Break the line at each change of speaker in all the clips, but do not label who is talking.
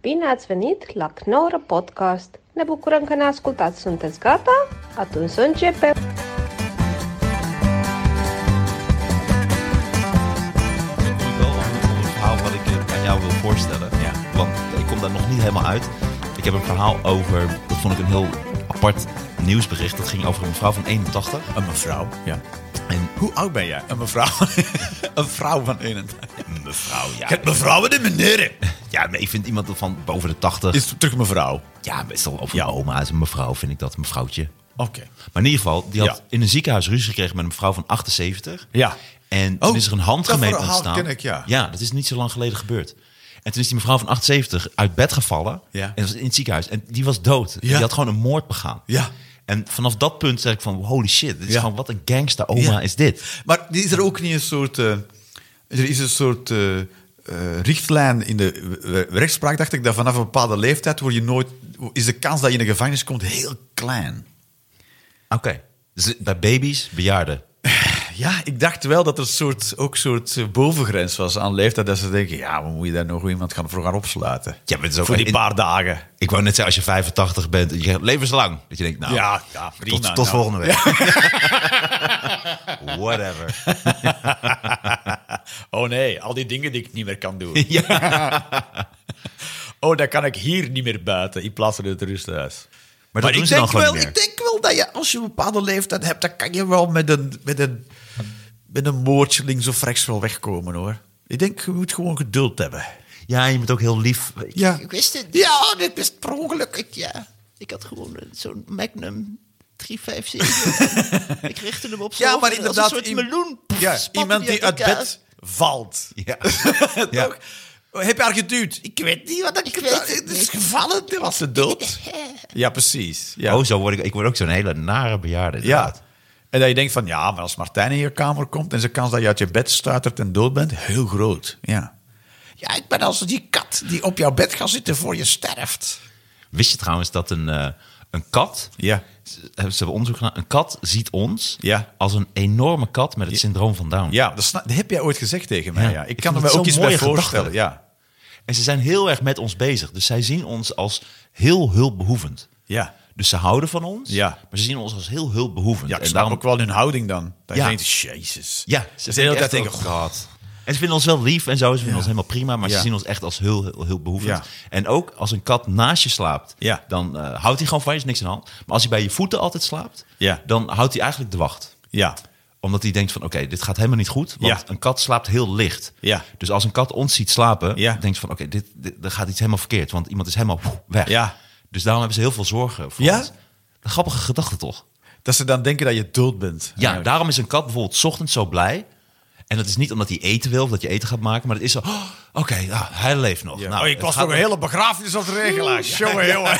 Bine ați venit la Knorr Podcast! Ne bucurăm că ne ascultați! Sunteți gata? Atunci să începem!
Ik moet wel af en toe een verhaal wat ik eh, aan jou wil voorstellen. Want ik kom daar nog niet helemaal uit. Ik heb een verhaal over, dat vond ik een heel apart nieuwsbericht. Dat ging over een mevrouw van 81.
Een mevrouw, ja.
En
Hoe oud ben jij? Een mevrouw. een vrouw van 81.
mevrouw, ja.
Het mevrouwen en de meneren.
Ja, maar ik vind iemand van boven de 80.
Is het terug een mevrouw?
ja, best wel over ja. oma is een mevrouw, vind ik dat, een mevrouwtje.
Oké.
Maar in ieder geval, die had
Ja.
in een ziekenhuis ruzie gekregen met een mevrouw van 78.
Ja.
En toen
Oh,
is er een
dat
handgemeen
verhaal
ontstaan.
ken ik, ja.
dat is niet zo lang geleden gebeurd. En toen is die mevrouw van 78 uit bed gevallen.
Ja.
En was in het ziekenhuis. En die was dood.
Ja.
Die had gewoon een moord begaan.
Ja.
En vanaf dat punt zeg ik van, holy shit. Dit is
Ja.
gewoon, wat een gangster oma
Ja.
is dit.
Maar is er ook niet een soort... eh, er is een soort eh, eh, richtlijn in de eh, rechtspraak, dacht ik, dat vanaf een bepaalde leeftijd word je nooit, is de kans dat je in de gevangenis komt heel klein.
Oké. Dus bij baby's, bejaarden.
Ja, ik dacht wel dat er soort, ook een soort eh, bovengrens was aan leeftijd. Dat ze denken, ja, maar moet je daar nog iemand gaan, voor gaan opsluiten?
Ja, maar het is ook-
voor die
in-
paar dagen.
Ik wou net zeggen, als je 85 bent, je gaat levenslang. Dat je denkt, nou,
Ja, ja, prima,
tot, tot
nou.
volgende week. Whatever.
Oh nee, al die dingen die ik niet meer kan doen. oh, dan kan ik hier niet meer buiten in plaats van in het rusthuis.
Maar dat
Maar,
doen
ik,
ze dan
denk
gewoon
wel,
niet
ik
meer.
denk wel dat je, als je een bepaalde leeftijd hebt, dan kan je wel met een, met een, met een moordje links of rechts wel wegkomen hoor. Ik denk, je moet gewoon geduld hebben.
Ja, je moet ook heel lief.
Ja.
Ik wist het.
Ja, dit is per ongeluk. Ik- ja.
Ik had gewoon eh, zo'n Magnum 357. ik richtte hem op zijn
Ja,
hoofd
maar
en
inderdaad...
Als een soort
iem-
meloen. Pff,
ja,
spatte
iemand die uit
elkaar.
bed valt.
Ja. Ja.
Toch? Heb je haar geduwd? Ik weet niet wat ik,
Ik weet het
Het is gevallen, toen was ze dood. Ja, precies. Ja.
Oh, zo word ik, ik word ook zo'n hele nare bejaarde.
Ja.
Oh, inderdaad.
En dat je denkt van, ja, maar als Martijn in je kamer komt... en de kans dat je uit je bed stuitert en dood bent, heel groot. Ja. Ja, ik ben als die kat die op jouw bed gaat zitten voor je sterft.
Wist je trouwens dat een, eh, een kat.
Ja.
Ze ze hebben onderzoek gedaan. Een kat ziet ons
Ja.
als een enorme kat met het syndroom van Down.
Ja, dat, sna- dat heb jij ooit gezegd tegen mij.
Ja.
Ja.
Ik
Ik
vind
kan er
het
me ook
zo'n
iets bij
mooie
voorstellen.
gedachte.
Ja.
En ze zijn heel erg met ons bezig. Dus zij zien ons als heel hulpbehoevend.
Ja.
Dus ze houden van ons.
Ja.
Maar ze zien ons als heel hulpbehoevend.
ja, ik
en
snap
daarom
ook wel hun houding dan. Dat
Ja.
je denkt, jezus.
Ja,
ze zijn de hele tijd denken,
echt ook- En ze vinden ons wel lief en zo. Ze vinden ons helemaal prima. Maar ze
Ja.
zien ons echt als heel, heel, heel behoefend.
Ja.
En ook als een kat naast je slaapt,
Ja.
dan eh, houdt hij gewoon van je. Is niks aan de hand. Maar als hij bij je voeten altijd slaapt,
Ja.
dan houdt hij eigenlijk de wacht.
Ja.
Omdat hij denkt van, oké, dit gaat helemaal niet goed. Want
Ja.
een kat slaapt heel licht.
Ja.
Dus als een kat ons ziet slapen,
Ja.
denkt ze van, oké, dit, dit, er gaat iets helemaal verkeerd. Want iemand is helemaal poeh, weg.
Ja.
Dus daarom hebben ze heel veel zorgen voor
Ja?
ons. Een grappige gedachte toch?
Dat ze dan denken dat je dood bent.
Ja, daarom is een kat bijvoorbeeld 's ochtends zo blij. En dat is niet omdat hij eten wil of dat je eten gaat maken, maar het is zo. "Oh, Oké, nou, hij leeft nog. Nou,
oh, ik
het
was
gaat
nog een
nog-
hele begrafenis op de regelaar. Jongen, jongen.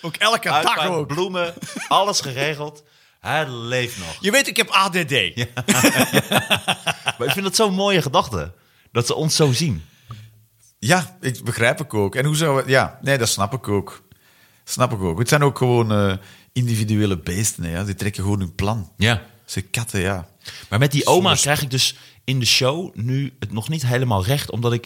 Ook elke dag
Uitvaart,
ook.
bloemen, alles geregeld. Hij leeft nog.
Je weet, ik heb ADD. Ja,
Maar ik vind dat zo'n mooie gedachte. Dat ze ons zo zien.
ik begrijp ik ook. En hoe zou we... Ja, nee, dat snap ik ook. Snap ik ook. Het zijn ook gewoon eh, individuele beesten. Hè, ja. Die trekken gewoon hun plan.
Ja.
Ze katten, ja.
Maar met die oma
Soms-
krijg ik dus in de show nu het nog niet helemaal recht, omdat ik.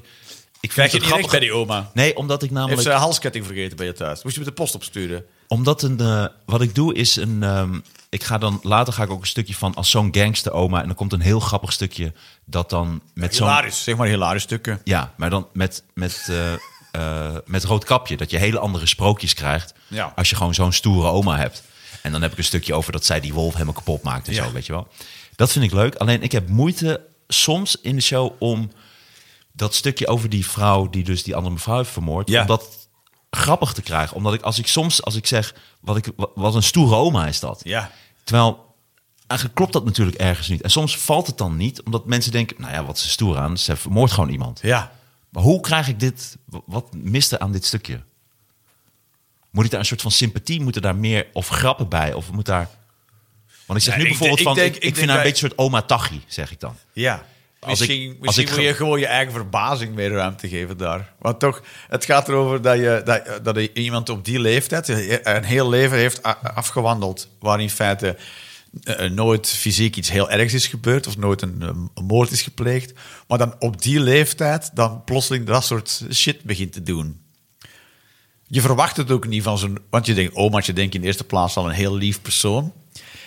ik
Krijg je
het
niet recht
grappig-
bij die oma?
Nee, omdat ik namelijk.
Heeft ze haar halsketting vergeten bij je thuis? Moest je met de post opsturen?
Omdat een, eh, wat ik doe is een. ehm, ik ga dan later ga ik ook een stukje van als zo'n gangster oma en dan komt een heel grappig stukje dat dan met zo'n
Hilarisch. Zeg maar hilarisch stukken.
ja, maar dan met met eh, eh, met rood kapje dat je hele andere sprookjes krijgt
Ja.
als je gewoon zo'n stoere oma hebt. En dan heb ik een stukje over dat zij die wolf helemaal kapot maakt en
Ja.
zo, weet je wel. Dat vind ik leuk. Alleen ik heb moeite soms in de show om dat stukje over die vrouw die dus die andere mevrouw heeft vermoord,
Ja.
om dat grappig te krijgen. Omdat ik als ik soms als ik zeg wat ik wa- wat een stoere oma is dat.
Ja.
Terwijl eigenlijk klopt dat natuurlijk ergens niet. En soms valt het dan niet, omdat mensen denken, nou ja, wat is er stoer aan? Ze vermoordt gewoon iemand.
Ja.
Maar hoe krijg ik dit? w- Wat mist er aan dit stukje? Moet ik daar een soort van sympathie? Moeten daar meer of grappen bij? Of moet daar. Want ik zeg
Nee,
nu
ik
bijvoorbeeld
denk-
van.
ik denk-
ik,
ik
ik vind haar
denk
een beetje een soort oma Tachi, zeg ik dan.
Ja.
Als ik-
misschien
als
misschien
ik
moet
ge-
je gewoon je eigen verbazing meer ruimte geven daar. Want toch, het gaat erover dat, je, dat, eh, dat je iemand op die leeftijd een heel leven heeft a- afgewandeld. Waar in feite eh, eh, nooit fysiek iets heel ergs is gebeurd of nooit een, eh, een moord is gepleegd. Maar dan op die leeftijd dan plotseling dat soort shit begint te doen. Je verwacht het ook niet van zo'n... Want je denkt, omaatje denkt in de eerste plaats al een heel lief persoon.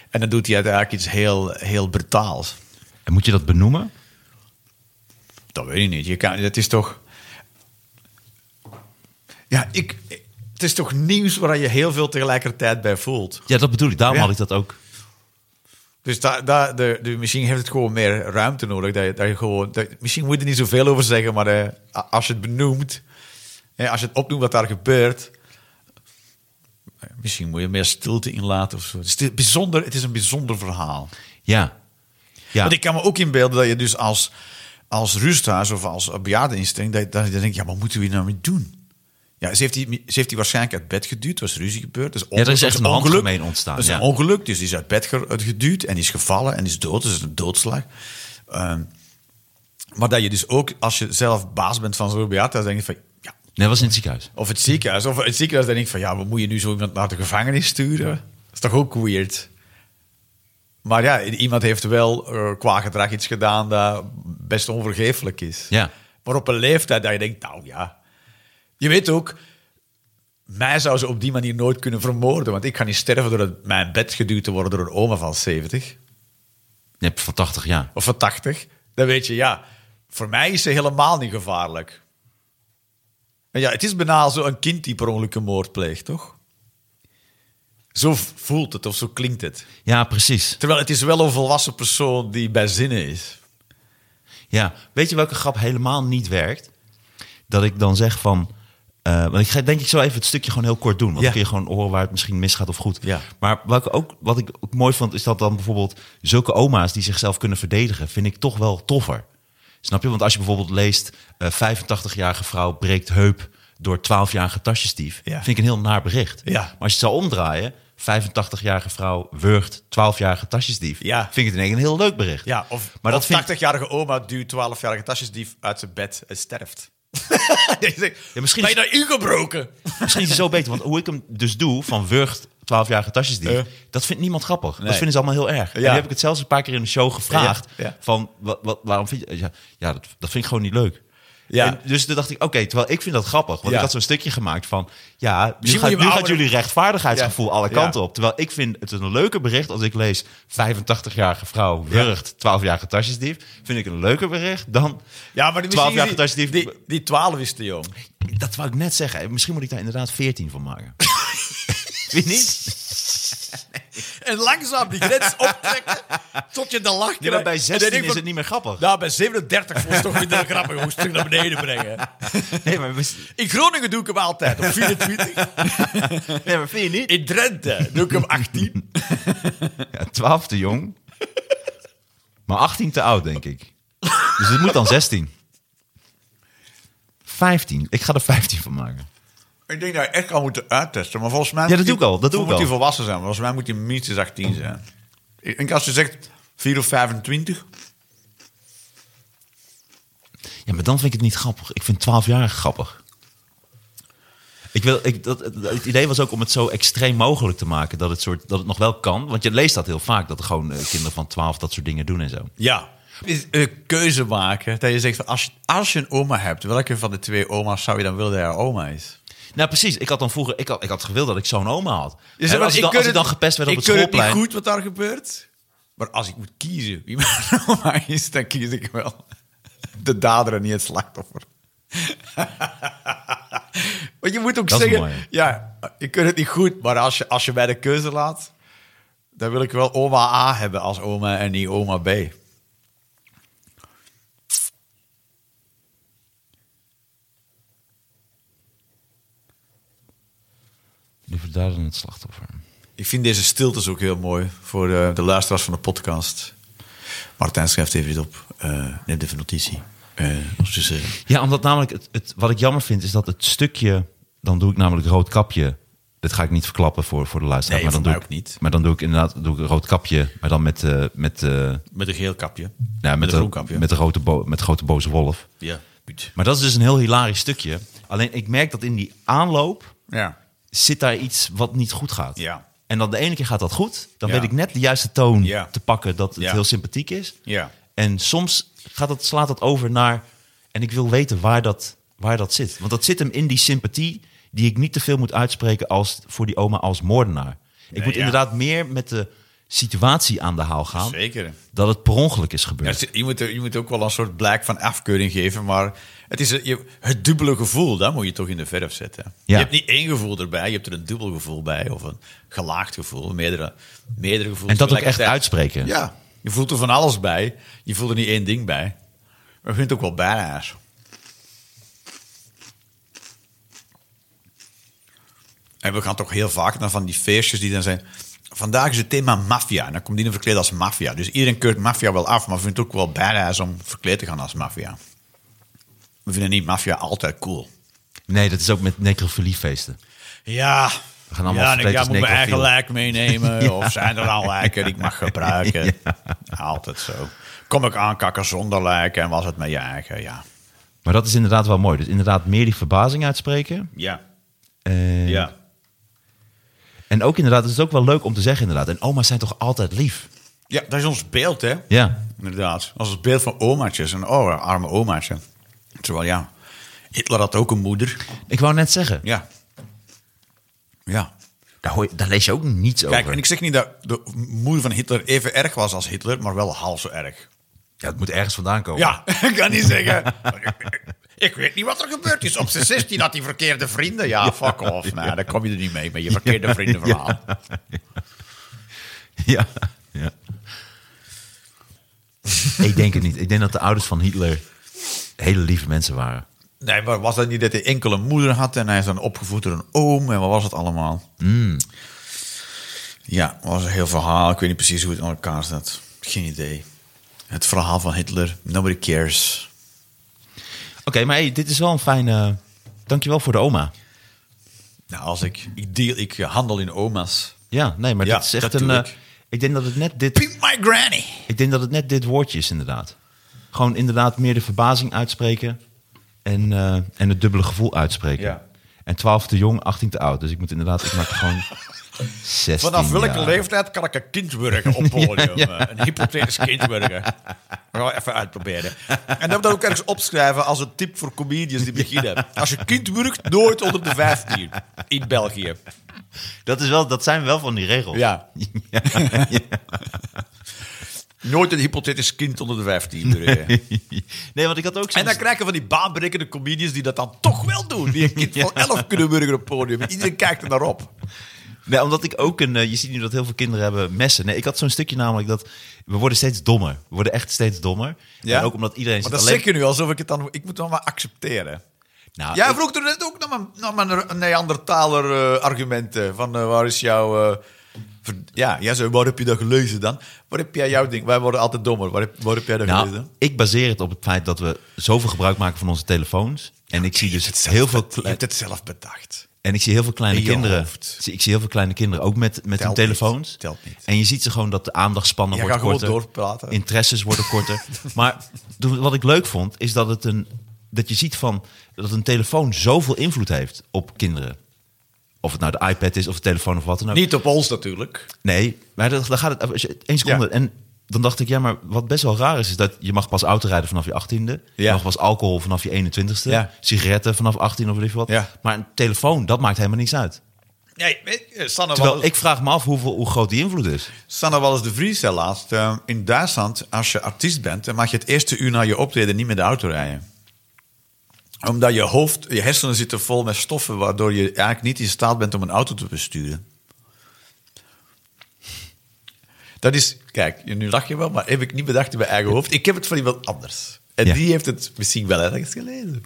En dan doet hij uiteindelijk iets heel, heel brutaals.
En moet je dat benoemen?
Dat weet ik niet. Je kan, het is toch. Ja, ik, het is toch nieuws waar je heel veel tegelijkertijd bij voelt.
Ja, dat bedoel ik. Daarom
Ja.
had ik dat ook.
Dus daar daar de, de, misschien heeft het gewoon meer ruimte nodig. Dat je, dat je gewoon, dat, misschien moet je er niet zoveel over zeggen, maar eh, a- als je het benoemt, eh, als je het opnoemt wat daar gebeurt, eh, misschien moet je meer stilte inlaten of zo. Het is, te- bijzonder, het is een bijzonder verhaal.
Ja. ja.
Want ik kan me ook inbeelden dat je dus als, als rusthuis of als bejaardeninstelling... dat je dan denkt, ja, wat moeten we hier nou mee doen? Ja, ze heeft, die, ze heeft die waarschijnlijk uit bed geduwd. Er was ruzie gebeurd. Dus
er is echt een handgemeen ontstaan,
Dat is
ja.
een ongeluk, dus die is uit bed ge- geduwd en die is gevallen en is dood. Dus het is een doodslag. Ehm, maar dat je dus ook, als je zelf baas bent van zo'n bejaardenhuis... denk je van, ja,
Nee, was in het ziekenhuis.
of het ziekenhuis. Of het ziekenhuis denk ik van, ja, wat moet je nu zo iemand naar de gevangenis sturen? Dat is toch ook weird? Maar ja, iemand heeft wel eh, qua gedrag iets gedaan dat best onvergeeflijk is.
Ja.
Maar op een leeftijd dat je denkt, nou ja. Je weet ook, mij zou ze op die manier nooit kunnen vermoorden. Want ik ga niet sterven door uit mijn bed geduwd te worden door een oma van 70
Nee, van 80 jaar.
of van 80, dan weet je, ja, voor mij is ze helemaal niet gevaarlijk. En ja, het is bijna zo een kind die per ongeluk een moord pleegt, toch? Zo v- voelt het of zo klinkt het.
Ja, precies.
Terwijl het is wel een volwassen persoon die bij zinnen is.
Ja, weet je welke grap helemaal niet werkt? Dat ik dan zeg van... eh, want ik ga denk ik zo even het stukje gewoon heel kort doen. Want
Ja.
dan kun je gewoon horen waar het misschien misgaat of goed.
Ja.
Maar welke ook, wat ik ook mooi vond, is dat dan bijvoorbeeld... zulke oma's die zichzelf kunnen verdedigen, vind ik toch wel toffer. Snap je? Want als je bijvoorbeeld leest... eh, 85-jarige vrouw breekt heup door 12-jarige tasjesdief...
Ja.
vind ik een heel naar bericht.
Ja.
Maar als je het zou omdraaien... 85-jarige vrouw wurgt 12-jarige tasjesdief...
Ja.
vind ik het in één keer een heel leuk bericht.
Ja, of,
maar dat
of
vind ik-
80-jarige oma duwt 12-jarige tasjesdief uit zijn bed en sterft. Je zegt,
Ja, misschien
Ben je nou ingebroken?
Misschien is het zo beter, want hoe ik hem dus doe van wurgt 12-jarige tasjesdief,
Ja.
dat vindt niemand grappig.
Nee.
Dat vinden ze allemaal heel erg. En nu heb ik het zelfs een paar keer in de show gevraagd
Ja, ja.
van wat, wat, waarom vind je ja, ja dat, dat vind ik gewoon niet leuk.
Ja.
En dus toen dacht ik, oké, terwijl ik vind dat grappig. Want
Ja.
ik had zo'n stukje gemaakt van, ja, nu,
Misschien
gaat, nu
moet je hem
gaat
ouder-
jullie rechtvaardigheidsgevoel
Ja.
alle
Ja.
kanten op. Terwijl ik vind het een leuker bericht als ik lees 85-jarige vrouw wurgt 12-jarige tasjesdief. Vind ik een leuker bericht dan
Ja, maar die-
12-jarige
die,
tasjesdief.
die, die 12 is te jong.
Dat wou ik net zeggen. Eh, Misschien moet ik daar inderdaad 14 van maken. Vind je niet?
En langzaam die grens optrekken tot je de lach krijgt.
Nee, maar bij
En dan
16
denk ik
is
van,
het niet meer grappig.
Nou, bij 37 vond ik toch minder grappig hoe ze terug naar beneden brengen.
Nee, maar, we-
In Groningen doe ik hem altijd op 24.
nee, maar vind je niet?
In Drenthe doe ik hem 18.
Ja, 12 te jong. Maar 18 te oud, denk ik. Dus het moet dan 16. 15. Ik ga er 15 van maken.
Ik denk dat je echt al moeten uittesten. Maar volgens mij
Ja, dat doe ik al, dat doe
moet
ik al.
hij volwassen zijn. Volgens mij moet hij minstens 18 zijn. Ik denk als je zegt 4 of 25.
Ja, maar dan vind ik het niet grappig. Ik vind 12 jaar grappig. Ik wil, ik, dat, het idee was ook om het zo extreem mogelijk te maken. Dat het, soort, dat het nog wel kan. Want je leest dat heel vaak. Dat er gewoon eh, kinderen van 12 dat soort dingen doen en zo.
Ja. Is, eh, keuze maken. Dat je zegt, van, als, je- als je een oma hebt, welke van de twee oma's zou je dan willen dat haar oma is?
Nou, precies. Ik had dan vroeger, ik had, ik had gewild dat ik zo'n oma had.
Je
en
zegt,
als ik, dan,
keur
als ik dan gepest werd op het
Ik keur
schoolplein.
het niet goed wat daar gebeurt. Maar als ik moet kiezen wie mijn oma is, dan kies ik wel de dader en niet het slachtoffer. Want je moet ook
Dat is
zeggen,
mooi.
ja, ik keur het niet goed, maar als je, als je mij de keuze laat, dan wil ik wel oma A hebben als oma en niet oma B.
Liever daar dan het slachtoffer.
Ik vind deze stiltes ook heel mooi voor eh, de, de luisteraars van de podcast. Martijn schrijft even dit op. Eh neem even notitie. Eh, dus, eh,
Ja, omdat namelijk, het, het, wat ik jammer vind, is dat het stukje... Dan doe ik namelijk rood kapje. Dat ga ik niet verklappen voor, voor de luisteraar.
Nee,
maar dan
voor
doe
mij
ik,
ook niet.
Maar dan doe ik inderdaad doe ik rood kapje. Maar dan met, eh, met, eh,
met een geel kapje.
nou, met,
een groen
de,
kapje.
met, de grote bo- met de grote boze wolf.
Ja.
Maar dat is dus een heel hilarisch stukje. Alleen ik merk dat in die aanloop
Ja.
zit daar iets wat niet goed gaat.
Ja.
En dan de ene keer gaat dat goed. Dan
Ja.
weet ik net de juiste toon
Ja.
te pakken dat het
Ja.
heel sympathiek is.
Ja.
En soms gaat dat, slaat dat over naar... En ik wil weten waar dat, waar dat zit. Want dat zit hem in die sympathie... die ik niet te veel moet uitspreken als, voor die oma als moordenaar. Ik
Nee,
moet
ja.
inderdaad meer met de situatie aan de haal gaan...
Zeker.
dat het per ongeluk is
Ja,
gebeurd.
het- je, moet, er- je moet ook wel een soort blijk van afkeuring geven, maar het is een- je- het dubbele gevoel, dat moet je toch in de verf zetten. Je
Ja.
hebt niet één gevoel erbij, je hebt er een dubbel gevoel bij, of een gelaagd gevoel, meerdere, meerdere gevoelens.
en dat ook echt
tegelijkertijd.
uitspreken.
Ja, je voelt er van alles bij, je voelt er niet één ding bij. Maar je vindt ook wel bijnaars. En we gaan toch heel vaak naar van die feestjes die dan zijn... Vandaag is het thema maffia. En dan komt iedereen verkleed als maffia. Dus iedereen keurt maffia wel af, maar vindt het ook wel badass om verkleed te gaan als maffia. We vinden niet maffia altijd cool.
Nee, dat is ook met necrofiliefeesten.
Ja.
We gaan allemaal
ja, en ik
verkleed
ja,
als
moet mijn eigen
necrofiel.
lijk meenemen.
Ja.
Of zijn er al lijken die ik mag gebruiken? Altijd zo. Kom ik aankakken zonder lijken en was het met je eigen? Ja.
Maar dat is inderdaad wel mooi. Dus inderdaad meer die verbazing uitspreken.
Ja.
Eh,
Ja.
En ook inderdaad, het is ook wel leuk om te zeggen inderdaad. En oma's zijn toch altijd lief?
Ja, dat is ons beeld, hè?
Ja.
Inderdaad. Als het beeld van omaatjes. En oh, arme omaatje. Terwijl ja, Hitler had ook een moeder.
Ik wou net zeggen,
Ja. Ja.
daar, hoor je- daar lees je ook niets
Kijk,
over.
en ik zeg niet dat de moeder van Hitler even erg was als Hitler, maar wel half zo erg.
Ja, het moet ergens vandaan komen.
Ja, ik kan niet zeggen. Ik- Ik weet niet wat er gebeurd is. Op zijn 16 had hij verkeerde vrienden. Ja, fuck off. Nee, daar kom je er niet mee met je verkeerde vriendenverhaal.
ja. ja. ik denk het niet. Ik denk dat de ouders van Hitler hele lieve mensen waren.
Nee, maar was dat niet dat hij enkele moeder had en hij is dan opgevoed door een oom en wat was het allemaal? Ja, was een heel verhaal. Ik weet niet precies hoe het aan elkaar zat. Geen idee. Het verhaal van Hitler. Nobody cares.
Oké, maar hey, dit is wel een fijne... eh, Dankjewel voor de oma.
Nou, als ik... Ik, deal, ik handel in oma's.
Ja, nee, maar
Ja,
dit is echt
dat
een...
doe
eh,
ik.
ik denk dat het net dit...
Pimp my granny.
Ik denk dat het net dit woordje is, inderdaad. Gewoon inderdaad meer de verbazing uitspreken en, eh, en het dubbele gevoel uitspreken.
Ja.
En 12 te jong, 18 te oud. Dus ik moet inderdaad, ik maak er gewoon 16
Vanaf welke
jaar.
leeftijd kan ik een kind worden op podium? Eh, Een hypothetisch kind worden. Gaan we even uitproberen. En dat moet ik ook ergens opschrijven als een tip voor comedians die beginnen. Als je kind werkt, nooit onder de 15 in België.
Dat, is wel, dat zijn wel van die regels.
Ja. Nooit een hypothetisch kind onder de 15 werken.
nee, want ik had ook
En
zo'n...
dan krijgen we van die baanbrekende comedians die dat dan toch wel doen. Die een kind van 11 kunnen burger op het podium. Iedereen kijkt er naar op.
Nee, omdat ik ook een... eh, Je ziet nu dat heel veel kinderen hebben messen. Nee, ik had zo'n stukje namelijk dat... We worden steeds dommer. We worden echt steeds dommer.
Ja?
En ook omdat iedereen...
Maar
zit
dat
alleen...
zeg je nu alsof ik het dan... Ik moet dan maar accepteren.
Nou,
Jij
ik-
vroeg er net ook naar mijn, naar mijn Neandertaler eh, argumenten. Van eh, waar is jouw... eh, ver- ja, jij zei, waar heb je dat gelezen dan? Waar heb jij jouw ding? Wij worden altijd dommer. Waar heb, waar heb jij dat
Nou,
gelezen?
ik baseer het op het feit dat we zoveel gebruik maken van onze telefoons. En ik zie dus heel veel,
Je
kle-
hebt het zelf bedacht.
en ik zie heel veel kleine
in je
kinderen.
hoofd.
Zie- Ik zie heel veel kleine kinderen ook met, met hun
Telt
telefoons.
niet, telt niet.
En je ziet ze gewoon dat de aandachtspannen
Jij
wordt
gaat gewoon
korter.
doorpraten.
Interesses worden korter. maar toen- wat ik leuk vond, is dat het een dat je ziet van dat een telefoon zoveel invloed heeft op kinderen. Of het nou de iPad is of de telefoon of wat dan ook.
Niet op ons natuurlijk.
Nee, maar dat, dan gaat het. als je- één seconde.
Ja.
En dan dacht ik, ja, maar wat best wel raar is, is dat je mag pas auto rijden vanaf je 18e. Je
Ja.
mag pas alcohol vanaf je 21ste.
Ja.
Sigaretten vanaf 18 of weet ik wat.
Ja.
Maar een telefoon, dat maakt helemaal niets uit.
Nee, weet je, Sanne
Terwijl
Wallis,
ik vraag me af hoeveel, hoe groot die invloed is.
Sanne Wallis de Vries zei laatst... eh, in Duitsland, als je artiest bent... dan mag je het eerste uur na je optreden niet met de auto rijden. Omdat je hoofd, je hersenen zitten vol met stoffen... waardoor je eigenlijk niet in staat bent om een auto te besturen. Dat is, kijk, nu lach je wel, maar heb ik niet bedacht in mijn eigen hoofd. Ik heb het van iemand anders. En
Ja.
die heeft het misschien wel ergens gelezen.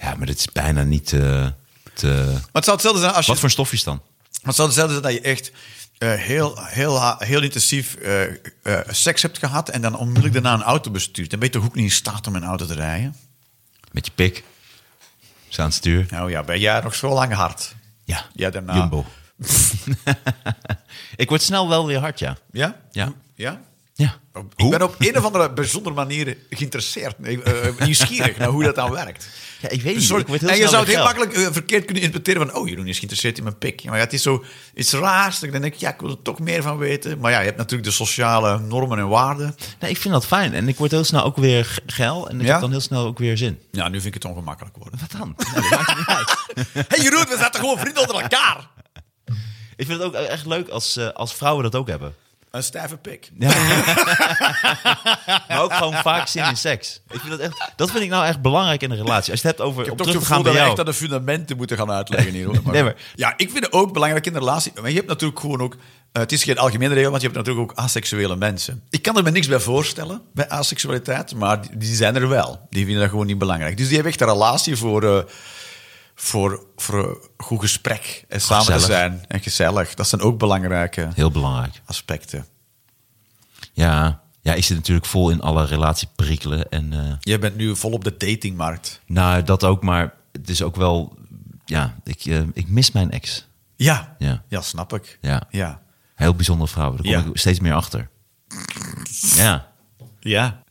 Ja, maar dit is bijna niet eh, te.
Maar het zou hetzelfde zijn als je
Wat voor stofjes dan?
Maar het zou hetzelfde zijn dat je echt eh, heel, heel, ha- heel intensief eh, eh, seks hebt gehad en dan onmiddellijk daarna een auto bestuurt. Dan ben je toch ook niet in staat om een auto te rijden?
Met je pik. Is aan het stuur.
Nou ja, ben jij nog zo lang hard?
Ja.
Ja, daarna.
Jumbo. ik word snel wel weer hard, ja.
Ja?
Ja.
Ja?
Ja.
Oh, Ik ben op een of andere bijzondere manier geïnteresseerd, nee, eh, nieuwsgierig naar hoe dat dan werkt.
Ja, ik weet
Dus
niet.
sorry,
ik word heel
en je
snel
zou het heel
weer geld.
makkelijk eh, verkeerd kunnen interpreteren van, oh, Jeroen is geïnteresseerd in mijn pik. Ja, Maar ja, het is zo iets raars. Dan denk ik, ja, ik wil er toch meer van weten. Maar ja, je hebt natuurlijk de sociale normen en waarden.
Nee, ik vind dat fijn. En ik word heel snel ook weer ge- geil. En ik
Ja?
heb dan heel snel ook weer zin.
Ja, Nou, nu vind ik het ongemakkelijk worden.
Wat dan? Nou, dat maakt niet uit.
Hé hey, Jeroen, we zaten gewoon vrienden onder elkaar.
Ik vind het ook echt leuk als, eh, als vrouwen dat ook hebben.
Een stijve pik.
Maar ook gewoon vaak zin in seks. Ik vind dat, echt, dat vind ik nou echt belangrijk in een relatie. Als je het hebt over
Ik
om
heb toch
terug
het
te gaan
gevoel
bij
dat we
jou.
echt aan de fundamenten moeten gaan uitleggen hier. Hoor.
Nee, maar-
Ja, ik vind het ook belangrijk in de relatie. Maar je hebt natuurlijk gewoon ook... eh, het is geen algemene regel, want je hebt natuurlijk ook asexuele mensen. Ik kan er me niks bij voorstellen, bij asexualiteit. Maar die, die zijn er wel. Die vinden dat gewoon niet belangrijk. Dus die hebben echt een relatie voor... eh, voor, voor een goed gesprek en samen
Gezellig.
te zijn en gezellig. Dat zijn ook belangrijke
Heel belangrijk.
aspecten.
Ja. ja, ik zit natuurlijk vol in alle relatieperikelen. En eh,
Je bent nu vol op de datingmarkt.
nou, dat ook. Maar het is ook wel... Ja, ik, eh, ik mis mijn ex.
Ja,
Ja.
ja. snap ik.
Ja.
ja.
Heel bijzondere vrouw. Daar kom
Ja.
ik steeds meer achter. Ja.
Ja.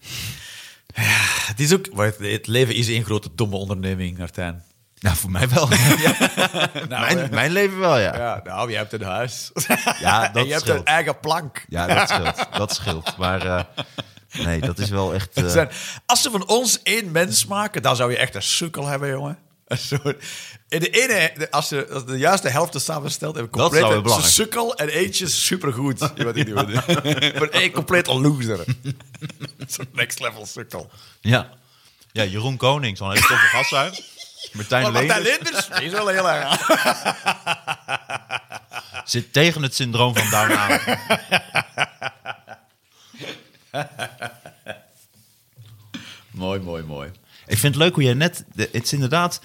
Het, is ook, maar het leven is één grote domme onderneming, Martijn. Nou,
Nou, voor mij wel. Nou, mijn, mijn leven wel, ja.
Ja, nou, je hebt een huis.
Ja, dat
en je hebt
scheelt.
een eigen plank.
Ja, dat scheelt. Dat scheelt. Maar eh, nee, dat is wel echt... eh,
Er zijn- als ze van ons één mens maken, dan zou je echt een sukkel hebben, jongen. Een soort- In de ene, de- als je als de juiste helft is samenstelt, heb ik
zou
compleet
wel
een
belangrijk
sukkel en eentje is supergoed. Je weet het niet wat ik bedoel. Maar één compleet loser. Zo'n next level sukkel.
ja. ja, Jeroen Koning, zo'n hele toffe gasthuis. Martijn
Maar Martijn
Leenders
Linders, die is wel heel erg aan.
zit tegen het syndroom van Down aan.
Mooi, mooi, mooi.
Ik vind het leuk hoe jij net... de- Het is inderdaad...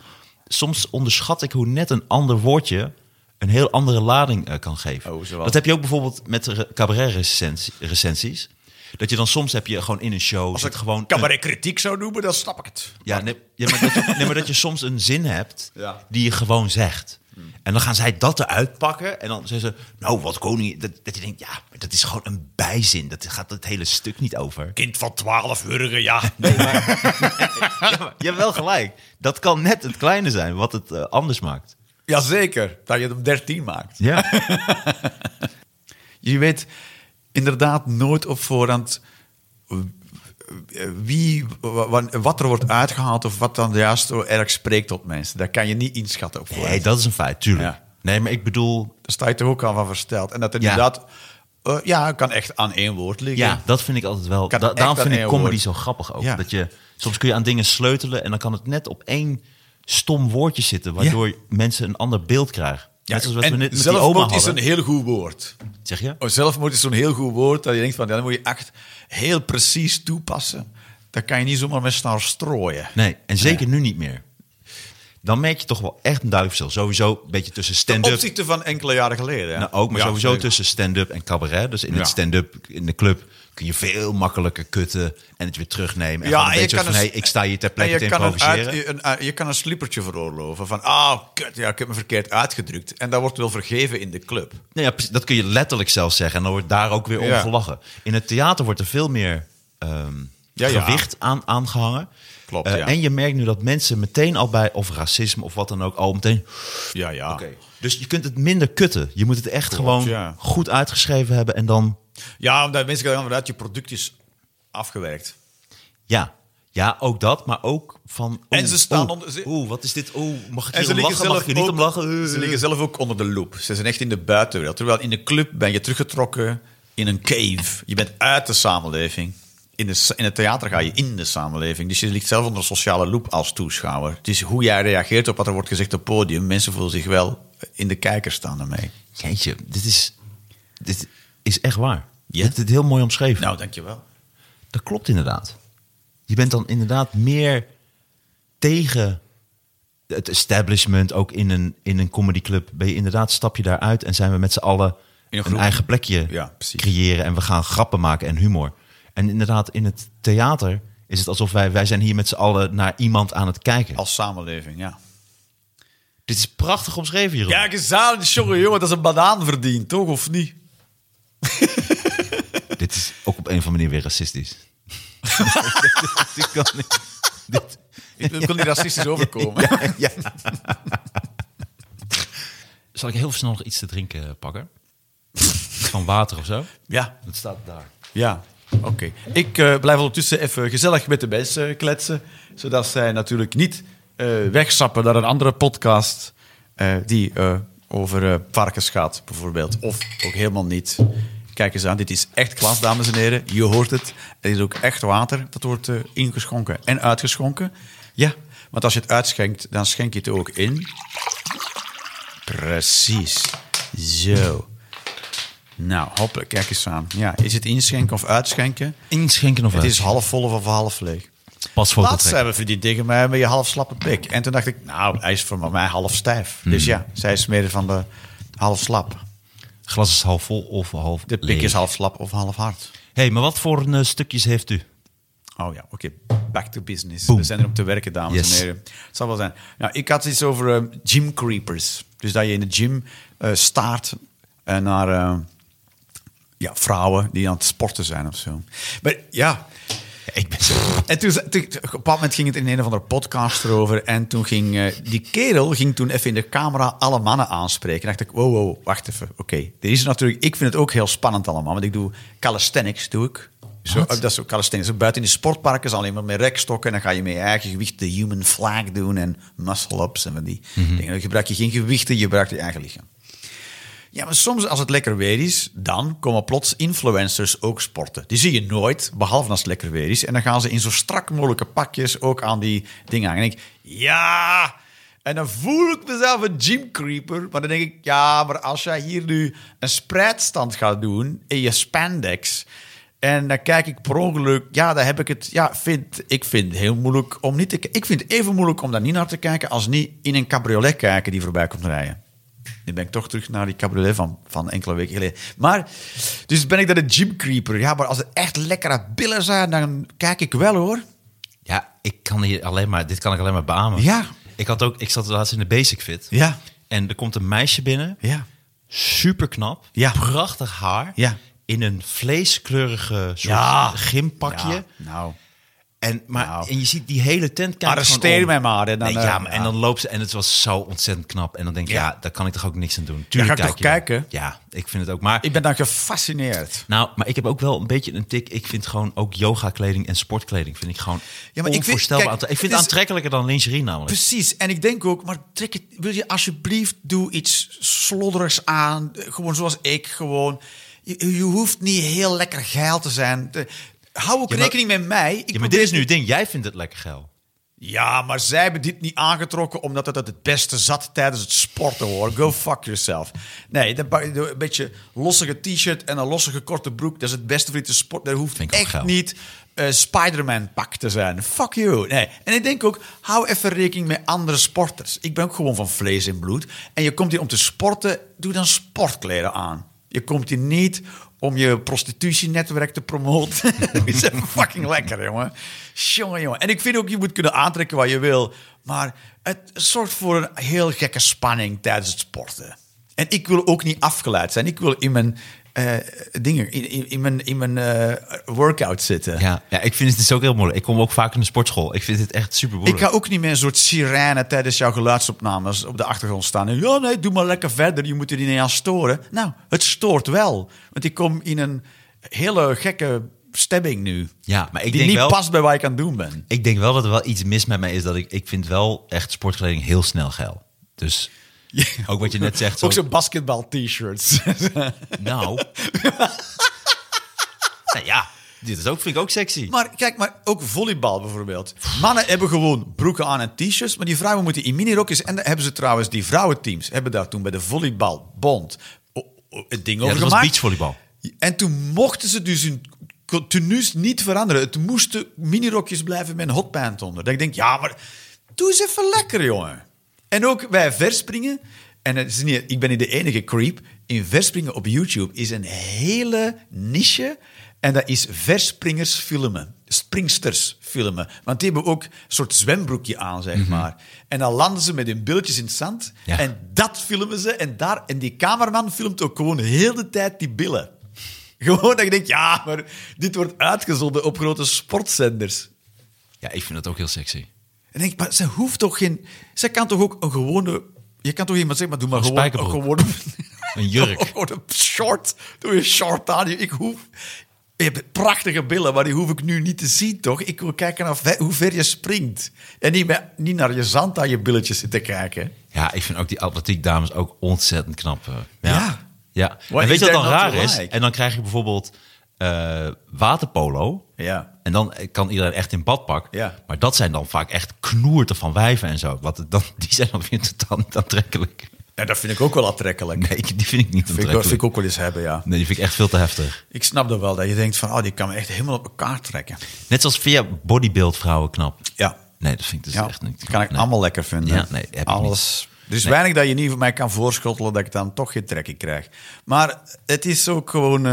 Soms onderschat ik hoe net een ander woordje een heel andere lading eh, kan geven.
Oh, zoals?
dat heb je ook bijvoorbeeld met re- cabaret-recensies. Dat je dan soms heb je gewoon in een show... Als
ik
gewoon een-
cabaret kritiek zou noemen, dan snap ik het.
Ja, nee, ja, maar, dat je, nee, maar dat je soms een zin hebt
Ja.
die je gewoon zegt. En dan gaan zij dat eruit pakken. En dan zeggen ze, nou, wat koning... Dat, dat je denkt, ja, maar dat is gewoon een bijzin. Dat gaat het hele stuk niet over.
Kind van 12 hurgen, ja.
Ja, maar je hebt wel gelijk. Dat kan net het kleine zijn wat het eh, anders maakt.
Jazeker, dat je het om 13 maakt.
Ja.
Je weet inderdaad nooit op voorhand eh, wie, wa- wa- wat er wordt uitgehaald of wat dan juist zo erg spreekt tot mensen. Dat kan je niet inschatten op voorhand.
Nee, dat is een feit, tuurlijk.
Ja.
Nee, maar ik bedoel...
Daar sta je toch ook al van versteld. En dat
Ja.
inderdaad, eh, ja, kan echt aan één woord liggen.
Ja, dat vind ik altijd wel...
Kan
da-
echt
daarom
aan
vind ik
één
comedy
woord.
zo grappig ook.
Ja.
Dat je, soms kun je aan dingen sleutelen... en dan kan het net op één stom woordje zitten... waardoor mensen een ander beeld krijgen. Net zoals wat we
en
net met die oma
zelfmoord
hadden.
is een heel goed woord.
Zeg je?
Oh, zelfmoord is zo'n heel goed woord dat je denkt van, ja, dan moet je echt heel precies toepassen. Dat kan je niet zomaar met snel strooien.
Nee, en zeker nu niet meer. Dan merk je toch wel echt een duidelijk verschil. Sowieso een beetje tussen
Ten
stand-up.
opzichte van enkele jaren geleden. hè?
Nou, ook, maar
Ja,
sowieso
zeker.
tussen stand-up en cabaret. Dus in
Ja.
het stand-up, in de club, kun je veel makkelijker kutten en het weer terugnemen. En
Ja,
ja,
en
een
je
beetje
kan
van,
een-
hey, ik sta hier ter
En
plekke te
je kan, een uit-
improviseren.
een- een- je kan een slippertje veroorloven van, ah, kut, ja, ik heb me verkeerd uitgedrukt. En dat wordt wel vergeven in de club.
Nou ja, precies, dat kun je letterlijk zelf zeggen. En dan wordt daar ook weer om
Ja.
gelachen. In het theater wordt er veel meer ehm,
Ja, ja.
gewicht aan aangehangen.
Klopt,
Eh,
ja.
En je merkt nu dat mensen meteen al bij, of racisme of wat dan ook, al meteen...
Ja, ja.
Dus je kunt het minder kutten. Je moet het echt gewoon
ja.
goed uitgeschreven hebben en dan...
Ja, omdat mensen gaan vanuit, je product is afgewerkt.
Ja, ja ook dat, maar ook van... oeh,
En ze staan
oeh,
onder- ze-
Oeh, wat is dit? Oeh, mag ik
En
hier
ze
om
liggen,
lachen? Mag
zelf
ik hier niet om
ook,
lachen?
ze liggen zelf ook onder de loep. Ze zijn echt in de buitenwereld. Terwijl in de club ben je teruggetrokken in een cave. Je bent uit de samenleving. In, de, in het theater ga je in de samenleving. Dus je ligt zelf onder een sociale loep als toeschouwer. Het is hoe jij reageert op wat er wordt gezegd op het podium. Mensen voelen zich wel in de kijker staan daarmee.
Jeetje, dit is, dit is echt waar. Je
Ja?
hebt het heel mooi omschreven.
Nou, dankjewel.
Dat klopt inderdaad. Je bent dan inderdaad meer tegen het establishment. Ook in een, in een comedyclub ben je inderdaad, stap je daaruit... en zijn we met z'n allen
een
een,
groep.
eigen plekje
Ja, precies.
creëren... en we gaan grappen maken en humor. En inderdaad, in het theater is het alsof wij... wij zijn hier met z'n allen naar iemand aan het kijken.
Als samenleving, ja.
Dit is prachtig omschreven, Jeroen.
Kijk eens aan, jongen, jongen, dat is een banaan verdiend, toch? Of niet?
Dit dit is ook op een of andere manier weer racistisch. dit kan niet. Dit,
Dat kon niet racistisch overkomen.
Zal ik heel snel nog iets te drinken pakken? Van water of zo?
Ja,
Dat staat daar.
ja. Oké. Ik eh, blijf ondertussen even gezellig met de mensen eh, kletsen. Zodat zij natuurlijk niet eh, wegsappen naar een andere podcast eh, die eh, over eh, varkens gaat, bijvoorbeeld. Of ook helemaal niet. Kijk eens aan, dit is echt glas, dames en heren. Je hoort het. Het is ook echt water. Dat wordt eh, ingeschonken en uitgeschonken. Ja, want als je het uitschenkt, dan schenk je het ook in. Precies. Zo. Nou, hoppelijk, kijk eens aan. Ja, is het inschenken of uitschenken?
Inschenken of
Het
uit?
is half vol of half leeg.
Pas voor
Laatst
trekken.
hebben we verdiend tegen mij met je half slappe pik. En toen dacht ik, nou, hij is voor mij half stijf.
Hmm.
Dus ja, zij is meer van de half slap.
Glas is half vol of half
De pik
leeg.
is half slap of half hard.
hey, maar wat voor eh, stukjes heeft u?
Oh ja, oké. Back to business.
Boom.
We zijn er om te werken, dames
Yes.
en heren. Het zal wel zijn. Nou, ik had iets over ehm, gym creepers. Dus dat je in de gym eh, staart eh, naar eh, ja, vrouwen die aan het sporten zijn of zo. Maar ja,
ik ben zo...
En toen, ze- toen- op een bepaald moment ging het in een of andere podcast erover. En toen ging eh, die kerel ging toen even in de camera alle mannen aanspreken. En dacht ik, wow, wow, wacht even. Oké, er is natuurlijk... Ik vind het ook heel spannend allemaal. Want ik doe calisthenics, doe ik. Zo, eh, dat is ook calisthenics. Ook Buiten in de sportparken is alleen maar met rekstokken. En dan ga je met je eigen gewicht de human flag doen. En muscle-ups en van die
Mhm.
dingen. Dan gebruik je geen gewichten, je gebruikt je eigen lichaam. Ja, maar soms als het lekker weer is, dan komen plots influencers ook sporten. Die zie je nooit, behalve als het lekker weer is. En dan gaan ze in zo strak mogelijke pakjes ook aan die dingen hangen. En ik, ja! En dan voel ik mezelf een gymcreeper. Maar dan denk ik, ja, maar als jij hier nu een spreidstand gaat doen in je spandex... En dan kijk ik per ongeluk, ja, daar heb ik het. Ja, vind, ik vind het heel moeilijk om niet te ki- Ik vind het even moeilijk om daar niet naar te kijken als niet in een cabriolet kijken die voorbij komt rijden. Nu ben ik toch terug naar die cabriolet van, van enkele weken geleden. Maar, dus ben ik dan een gymcreeper. Ja, maar als het echt lekkere billen zijn, dan kijk ik wel hoor.
Ja, ik kan hier alleen maar... Dit kan ik alleen maar beamen.
Ja.
Ik, had ook, ik zat laatst in de Basic Fit.
Ja.
En er komt een meisje binnen.
Ja.
Super knap.
Ja.
Prachtig haar.
Ja.
In een vleeskleurige soort
Ja.
gympakje.
Ja, nou.
En, maar,
Nou.
en je ziet die hele tent kijken.
Arresteer mij maar, hè, dan, eh,
ja, maar, en
ja.
dan loopt ze. En het was zo ontzettend knap. En dan denk ik, ja,
Ja.
daar kan ik toch ook niks aan doen.
ga
Tuurlijk
ik toch
kijk je dan.
kijken?
Ja, ik vind het ook. Maar,
Ik ben dan gefascineerd.
nou, maar ik heb ook wel een beetje een tik. Ik vind gewoon ook yoga kleding en sportkleding vind ik gewoon
Ja, maar ik vind-
onvoorstelbaar.
kijk,
aantre- ik vind het
het is-
aantrekkelijker dan lingerie namelijk.
Precies. En ik denk ook, maar trek het, wil je alsjeblieft, doe iets slodderigs aan. Gewoon zoals ik, gewoon. Je, je hoeft niet heel lekker geil te zijn. De- hou ook
Ja, maar-
rekening met mij. Ik
ja, maar dit is nu het ding. Jij vindt het lekker geil.
Ja, maar zij hebben dit niet aangetrokken omdat het het beste zat tijdens het sporten hoor. Go fuck yourself. Nee, dan pak je een beetje lossige t-shirt en een lossige korte broek. Dat is het beste voor iets te sport. Daar hoeft
Vind ik ook
echt
geil.
niet eh Spider-Man pak te zijn. Fuck you. Nee. En ik denk ook, hou even rekening met andere sporters. Ik ben ook gewoon van vlees en bloed. En je komt hier om te sporten, doe dan sportkleren aan. Je komt hier niet om je prostitutienetwerk te promoten. Dat is even fucking lekker, jongen. Jongen, jongen. En ik vind ook, je moet kunnen aantrekken wat je wil. Maar het zorgt voor een heel gekke spanning tijdens het sporten. En ik wil ook niet afgeleid zijn. Ik wil in mijn eh, dingen, in, in, in mijn, in mijn eh, workout zitten.
Ja, ja ik vind het dus ook heel moeilijk. Ik kom ook vaak in de sportschool. Ik vind het echt super moeilijk.
Ik ga ook niet meer een soort sirene tijdens jouw geluidsopnames op de achtergrond staan. En, ja, nee, doe maar lekker verder. Je moet er niet aan storen. Nou, het stoort wel. Want ik kom in een hele gekke stemming nu.
Ja, maar ik
die
denk
niet
wel-
past bij wat ik aan het doen ben.
Ik denk wel dat er wel iets mis met mij is. Dat ik, ik vind wel echt sportkleding heel snel geil. Dus ook wat je net zegt. Zo,
Ook zo'n basketbal-t-shirts.
nou. nou ja, dit is ook, vind ik ook sexy.
Maar kijk, maar ook volleybal bijvoorbeeld. Mannen hebben gewoon broeken aan en t-shirts, maar die vrouwen moeten in minirokjes. En dan hebben ze trouwens, die vrouwenteams hebben daar toen bij de volleybalbond o- o- het ding
ja,
over
dat was
gemaakt.
beachvolleybal.
En toen mochten ze dus hun co- tenues niet veranderen. Het moesten minirokjes blijven met een hotpant onder. Dat ik denk, ja, maar doe eens even lekker, jongen. En ook bij verspringen, en het is niet, ik ben niet de enige creep, in verspringen op YouTube is een hele niche. En dat is verspringers filmen. Springsters filmen. Want die hebben ook een soort zwembroekje aan, zeg maar. En dan landen ze met hun billetjes in het zand.
Ja.
En dat filmen ze. En, daar, en die cameraman filmt ook gewoon heel de tijd die billen. Gewoon dat je denkt, ja, maar dit wordt uitgezonden op grote sportzenders.
Ja, ik vind dat ook heel sexy.
En ik denk, maar ze hoeft toch geen... Ze kan toch ook een gewone... Je kan toch iemand zeggen, maar doe maar
Een spijkerbroek.
gewoon... Een gewone...
Een jurk.
Gewoon een short. Doe je short aan. Ik hoef... Je hebt prachtige billen, maar die hoef ik nu niet te zien, toch? Ik wil kijken naar ve- hoe ver je springt. En niet, met- niet naar je zand aan je billetjes zitten kijken.
Ja, ik vind ook die atletiek dames ook ontzettend knap. eh. Ja.
Ja.
ja. En
What
weet je
is
wat
there
dan
not
raar
to
is?
like?
En dan krijg je bijvoorbeeld eh, waterpolo.
Ja.
En dan kan iedereen echt in badpak.
Ja.
Maar dat zijn dan vaak echt knoerten van wijven en zo. Want dan, die zijn dan weer totaal niet aantrekkelijk.
Ja, dat vind ik ook wel aantrekkelijk.
Nee, die vind ik niet
vind, ik, wel-
aantrekkelijk.
vind ik ook wel eens hebben, ja.
Nee, die vind ik echt veel te heftig.
Ik snap dat wel, dat je denkt van, oh, die kan me echt helemaal op elkaar trekken.
Net zoals via bodybuild vrouwen knap.
Ja.
Nee, dat vind ik dus
Ja,
echt niet.
kan ik
nee.
allemaal lekker vinden.
Ja, nee, heb ik
Alles. Er is weinig dat je niet van mij kan voorschottelen dat ik dan toch geen trekking krijg. Maar het is ook gewoon...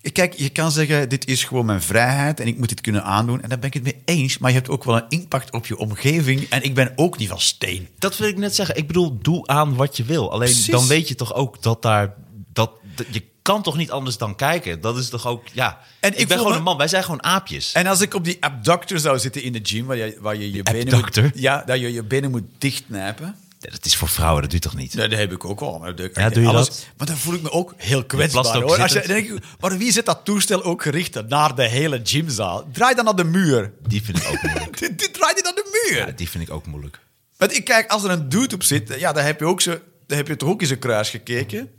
eh, kijk, je kan zeggen, dit is gewoon mijn vrijheid en ik moet dit kunnen aandoen. En daar ben ik het mee eens, maar je hebt ook wel een impact op je omgeving. En ik ben ook niet van steen.
Dat wil ik net zeggen. Ik bedoel, doe aan wat je wil. Alleen
Precies.
dan weet je toch ook dat daar. Dat, dat- je kan toch niet anders dan kijken. Dat is toch ook. Ja.
En
ik,
ik
ben
voel
gewoon
me-
een man. Wij zijn gewoon aapjes.
En als ik op die abductor zou zitten in de gym, waar je waar je, je benen
abductor?
moet... Ja, dat je je benen moet dichtnijpen.
Nee, Dat is voor vrouwen, dat doet toch niet?
Nee, dat heb ik ook wel. Maar, de,
Ja, doe je
alles,
dat?
maar dan voel ik me ook heel
Je
kwetsbaar.
plast ook
Hoor. Als je,
zittend.
denk, ik, maar wie zet dat toestel ook gericht naar de hele gymzaal? Draai dan naar de muur.
Die vind ik ook moeilijk.
Dit, dit draait je naar de muur.
Ja, die vind ik ook moeilijk.
Want ik kijk, als er een dude op zit, ja, dan heb je, ook zo, dan heb je toch ook eens een kruis gekeken.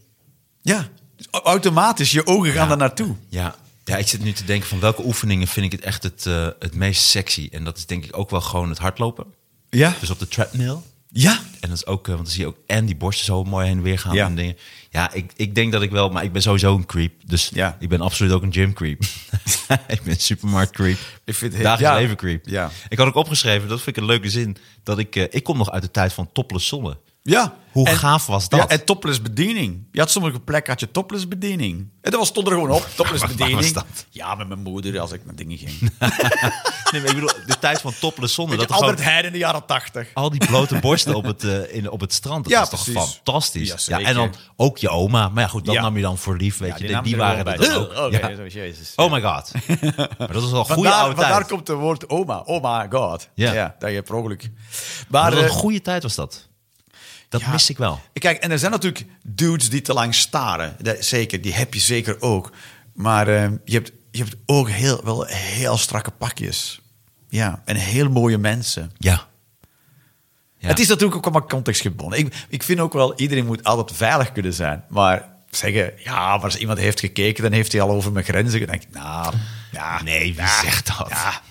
Ja, dus au- automatisch. Je ogen gaan daar naartoe.
Ja. ja, ik zit nu te denken van welke oefeningen vind ik het echt het, eh, het meest sexy. En dat is denk ik ook wel gewoon het hardlopen.
Ja.
Dus op de treadmill.
Ja.
En dat is ook, eh, want dan zie je ook en die borsten zo mooi heen en weer gaan
Ja.
en dingen. Ja, ik, ik denk dat ik wel, maar ik ben sowieso een creep. Dus
Ja.
ik ben absoluut ook een gym creep. ik ben een supermarkt creep.
Ik vind het-
Dagelijks
ja.
leven creep.
Ja.
Ik had ook opgeschreven, dat vind ik een leuke zin, dat ik, eh, ik kom nog uit de tijd van topless zonnen.
Ja.
Hoe gaaf was dat?
Ja, en topless bediening. Je had sommige plekken had je topless bediening. En dat was, stond er gewoon op, topless
Waar- waar
bediening.
was dat?
Ja, met mijn moeder als ik naar dingen ging.
Nee, maar ik bedoel, de tijd van topless zonnen. Dat
Met
er gewoon
Albert Heijn in de jaren tachtig.
al die blote borsten op het, eh, in, op het strand. Dat
Ja,
was toch
precies.
fantastisch.
Ja,
Ja,
zeker.
en dan ook je oma. Maar ja, goed, dat
Ja.
nam je dan voor lief, weet je. Die, die waren dat
dat
dan ook. Ja. Oh my god. Maar dat was wel een goede
Vandaar,
oude tijd.
vandaar komt het woord oma. Oh my god.
Ja.
dat je per ongeluk.
Maar
Maar
wat een
eh,
goede tijd was dat. Dat
ja.
mis ik wel.
kijk, en er zijn natuurlijk dudes die te lang staren. Dat, zeker, die heb je zeker ook. Maar eh, je, hebt, je hebt ook heel, wel heel strakke pakjes. Ja, en heel mooie mensen.
Ja. Ja.
Het is natuurlijk ook allemaal contextgebonden. Ik, ik vind ook wel, iedereen moet altijd veilig kunnen zijn. Maar zeggen, ja, maar als iemand heeft gekeken, dan heeft hij al over mijn grenzen gedacht. Nou, ja,
Nee, wie
ja,
zegt dat?
ja.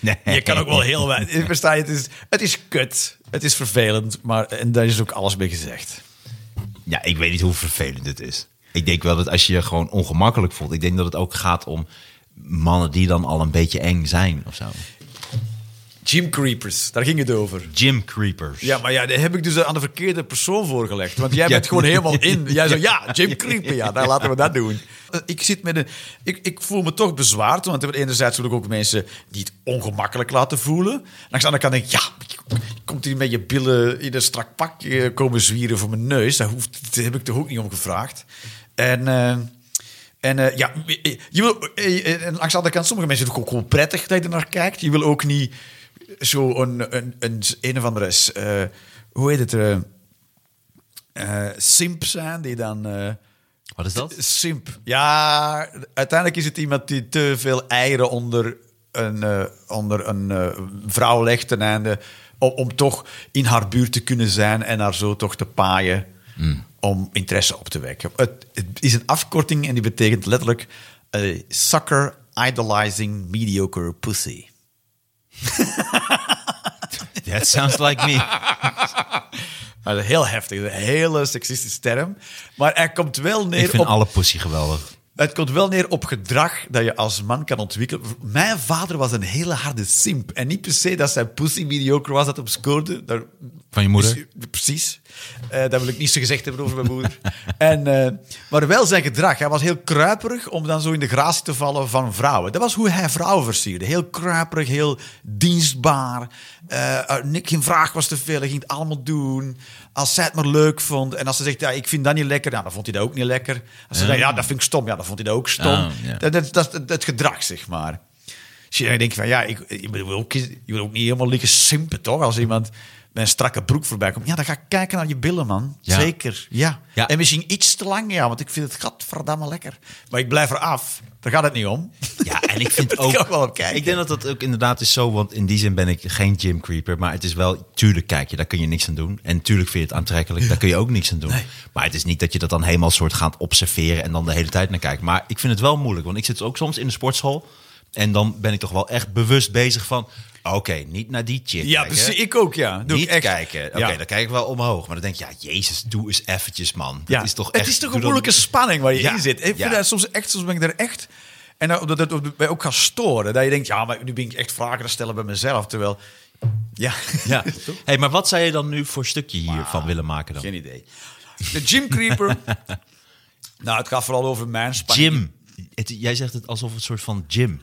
Nee.
Je kan ook wel heel weinig. Versta je? Het is, het is kut. Het is vervelend. Maar, en daar is ook alles mee gezegd.
Ja, ik weet niet hoe vervelend het is. Ik denk wel dat als je je gewoon ongemakkelijk voelt... Ik denk dat het ook gaat om mannen die dan al een beetje eng zijn of zo.
Gym creepers, daar ging het over.
Gym creepers.
Ja, maar ja, dat heb ik dus aan de verkeerde persoon voorgelegd. Want jij
Ja.
bent gewoon helemaal in. Jij zo, ja, Jim Creeper, ja, daar laten we dat doen. Eh, Ik, zit met een, ik, ik voel me toch bezwaard, want enerzijds wil ik ook mensen die het ongemakkelijk laten voelen. En aan de andere kant denk ik, ja, je komt hier met je billen in een strak pak eh, komen zwieren voor mijn neus. Daar, hoeft, daar heb ik toch ook niet om gevraagd. En... eh, en eh, ja, je wil, eh, eh, en langs de andere kant, sommige mensen vinden het ook wel prettig dat je er naar kijkt. Je wil ook niet zo een, een, een, een of andere, eh, hoe heet het, eh eh, simp zijn die dan... eh,
Wat is dat?
Simp. Ja, uiteindelijk is het iemand die te veel eieren onder een, eh, onder een eh, vrouw legt ten einde om, om toch in haar buurt te kunnen zijn en haar zo toch te paaien
Hmm.
om interesse op te wekken. Het, het is een afkorting en die betekent letterlijk eh, sucker idolizing mediocre pussy.
That sounds like me.
Maar dat is heel heftig, dat is een hele seksistische term. Maar hij komt wel neer
Ik vind
op
alle pussy geweldig.
Het komt wel neer op gedrag dat je als man kan ontwikkelen. Mijn vader was een hele harde simp. En niet per se dat zijn pussy mediocre was dat op scoorde. Daar- Dus
Van je moeder?
Is- precies. Eh dat wil ik niet zo gezegd hebben over mijn moeder. en, eh, maar wel zijn gedrag. Hij was heel kruiperig om dan zo in de gratie te vallen van vrouwen. Dat was hoe hij vrouwen versierde. Heel kruiperig, heel dienstbaar. Eh, eh, ni- geen vraag was te veel. Hij ging het allemaal doen. Als zij het maar leuk vond. En als ze zegt, ja, ik vind dat niet lekker. Nou, dan vond hij dat ook niet lekker. Als ze zei, ja, dat vind ik stom. Ja, dat vond hij dat ook stom.
Ah, ja.
dat, dat, dat, dat- dat gedrag, zeg maar. Dus je denkt van, ja, ik, ik bedoel, ook- je wil ook niet helemaal liggen simpen, toch? Als iemand met een strakke broek voorbij komt. Ja, dan ga ik kijken naar je billen, man.
Ja.
Zeker, ja.
Ja.
En misschien iets te lang, ja, want ik vind het gadverdamme lekker. Maar ik blijf eraf. Daar gaat het niet om.
Ja, en ik vind
Moet
ook.
ik ook wel op kijken.
Ik denk dat dat ook inderdaad is zo, want in die zin ben ik geen gym creeper. Maar het is wel, tuurlijk kijk je, daar kun je niks aan doen. En tuurlijk vind je het aantrekkelijk, daar kun je ook niks aan doen. Maar het is niet dat je dat dan helemaal soort gaat observeren en dan de hele tijd naar kijkt. Maar ik vind het wel moeilijk, want ik zit ook soms in de sportschool. En dan ben ik toch wel echt bewust bezig van, oké, niet naar die chick
Ja,
kijken.
precies. Ik ook, ja. Doe ik
niet
echt.
kijken. Oké,
Ja.
dan kijk ik wel omhoog. Maar dan denk je, ja, jezus, doe eens eventjes, man. Dat is toch
het
echt,
is toch
doe
een
dat-
moeilijke spanning waar je
Ja,
in zit. Ik vind
ja.
dat soms echt, soms ben ik er echt... En dat, dat, dat mij ook gaat storen. Dat je denkt, ja, maar nu ben ik echt vragen te stellen bij mezelf. Terwijl, ja,
Ja. Hey, maar wat zou je dan nu voor stukje hiervan willen maken dan?
geen idee. De gym creeper. nou, het gaat vooral over mijn spanning.
Gym. Het- jij zegt het alsof het een soort van gym.